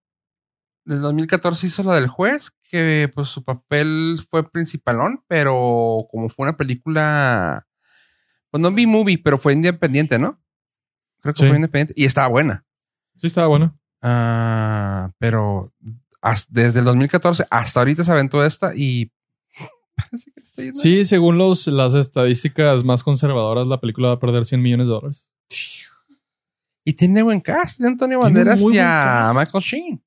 S1: del 2014 hizo la del juez, que pues su papel fue principalón, pero como fue una película, pues no vi movie, pero fue independiente, ¿no? Creo que
S2: Sí.
S1: fue independiente y estaba buena.
S2: Sí, estaba bueno.
S1: Ah, pero has- desde el 2014 hasta ahorita se aventó esta y [LAUGHS] parece que le está yendo.
S2: Sí, según los, las estadísticas más conservadoras, la película va a perder 100 millones de dólares.
S1: Y tiene buen cast, tiene a Antonio
S2: Tiene
S1: Banderas
S2: muy
S1: y
S2: buen
S1: a
S2: cast.
S1: Michael Sheen.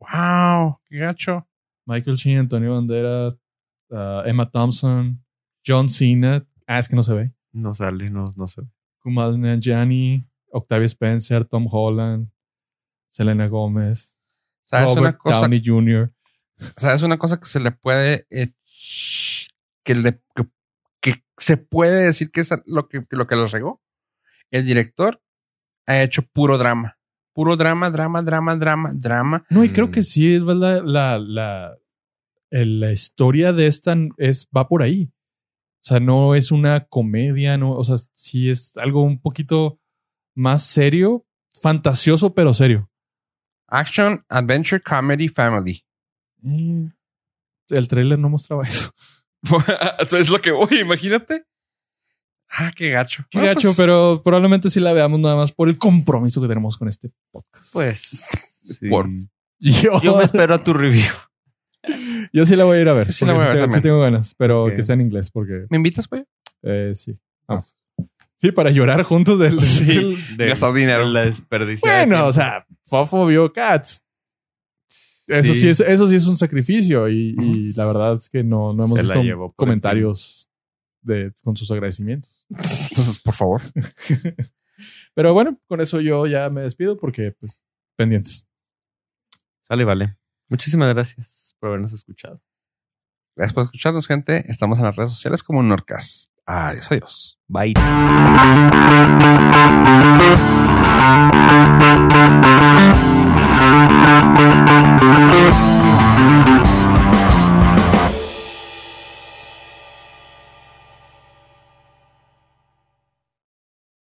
S1: Wow, qué gacho.
S2: Michael Sheen, Antonio Banderas, uh, Emma Thompson, John Cena, ah, es que no se ve,
S3: No sale, no, no sé.
S2: Kumal Nanjiani, Octavia Spencer, Tom Holland, Selena Gómez,
S1: ¿Sabes una
S2: Robert
S1: cosa?
S2: Downey Jr.
S1: ¿Sabes una cosa que se le puede eh, sh- que, le- que, que se puede decir que es lo que, que lo que lo regó? El director ha hecho puro drama. Puro drama, drama, drama, drama, drama.
S2: No, y
S3: Mm.
S2: creo que sí, es verdad, la, la, el- la historia de esta es, va por ahí. O sea, no es una comedia, no, o sea, sí es algo un poquito más serio, fantasioso, pero serio.
S1: Action, adventure, comedy, family. [LAUGHS] Mm.
S2: Eh, El trailer no mostraba eso.
S1: Eso es lo que voy, imagínate. Ah, qué gacho.
S2: Qué
S1: Bueno,
S2: gacho,
S1: pues,
S2: pero probablemente sí la veamos nada más por el compromiso que tenemos con este podcast.
S3: Pues. sí.
S1: Por-
S2: [LAUGHS] Yo,
S3: Pues, Yo [LAUGHS]
S2: yo,
S3: me espero a tu review.
S2: sí la voy a ir a ver.
S1: Sí la
S2: porque
S1: voy a ver
S2: tengo- sí
S1: también.
S2: tengo ganas, pero
S3: Ok.
S2: que sea en inglés, porque
S1: ¿Me invitas, güey?
S2: eh, sí. Vamos. Sí, para llorar juntos del.
S3: [LAUGHS]
S2: del-
S3: De-
S1: Gastar dinero.
S3: de La desperdicia. de
S2: bueno,
S3: tiempo.
S2: o sea, Fofo vio Cats. Eso sí. es, eso sí es un sacrificio y, y la verdad es que no, no hemos
S3: Se la
S2: visto
S3: llevó por
S2: comentarios de, con sus agradecimientos.
S1: Entonces, por favor.
S2: Pero bueno, con eso yo ya me despido porque, pues, pendientes.
S3: Sale, vale. Muchísimas gracias por habernos escuchado.
S1: Gracias por escucharnos, gente. Estamos en las redes sociales como Norcas. Adiós, adiós.
S3: Bye.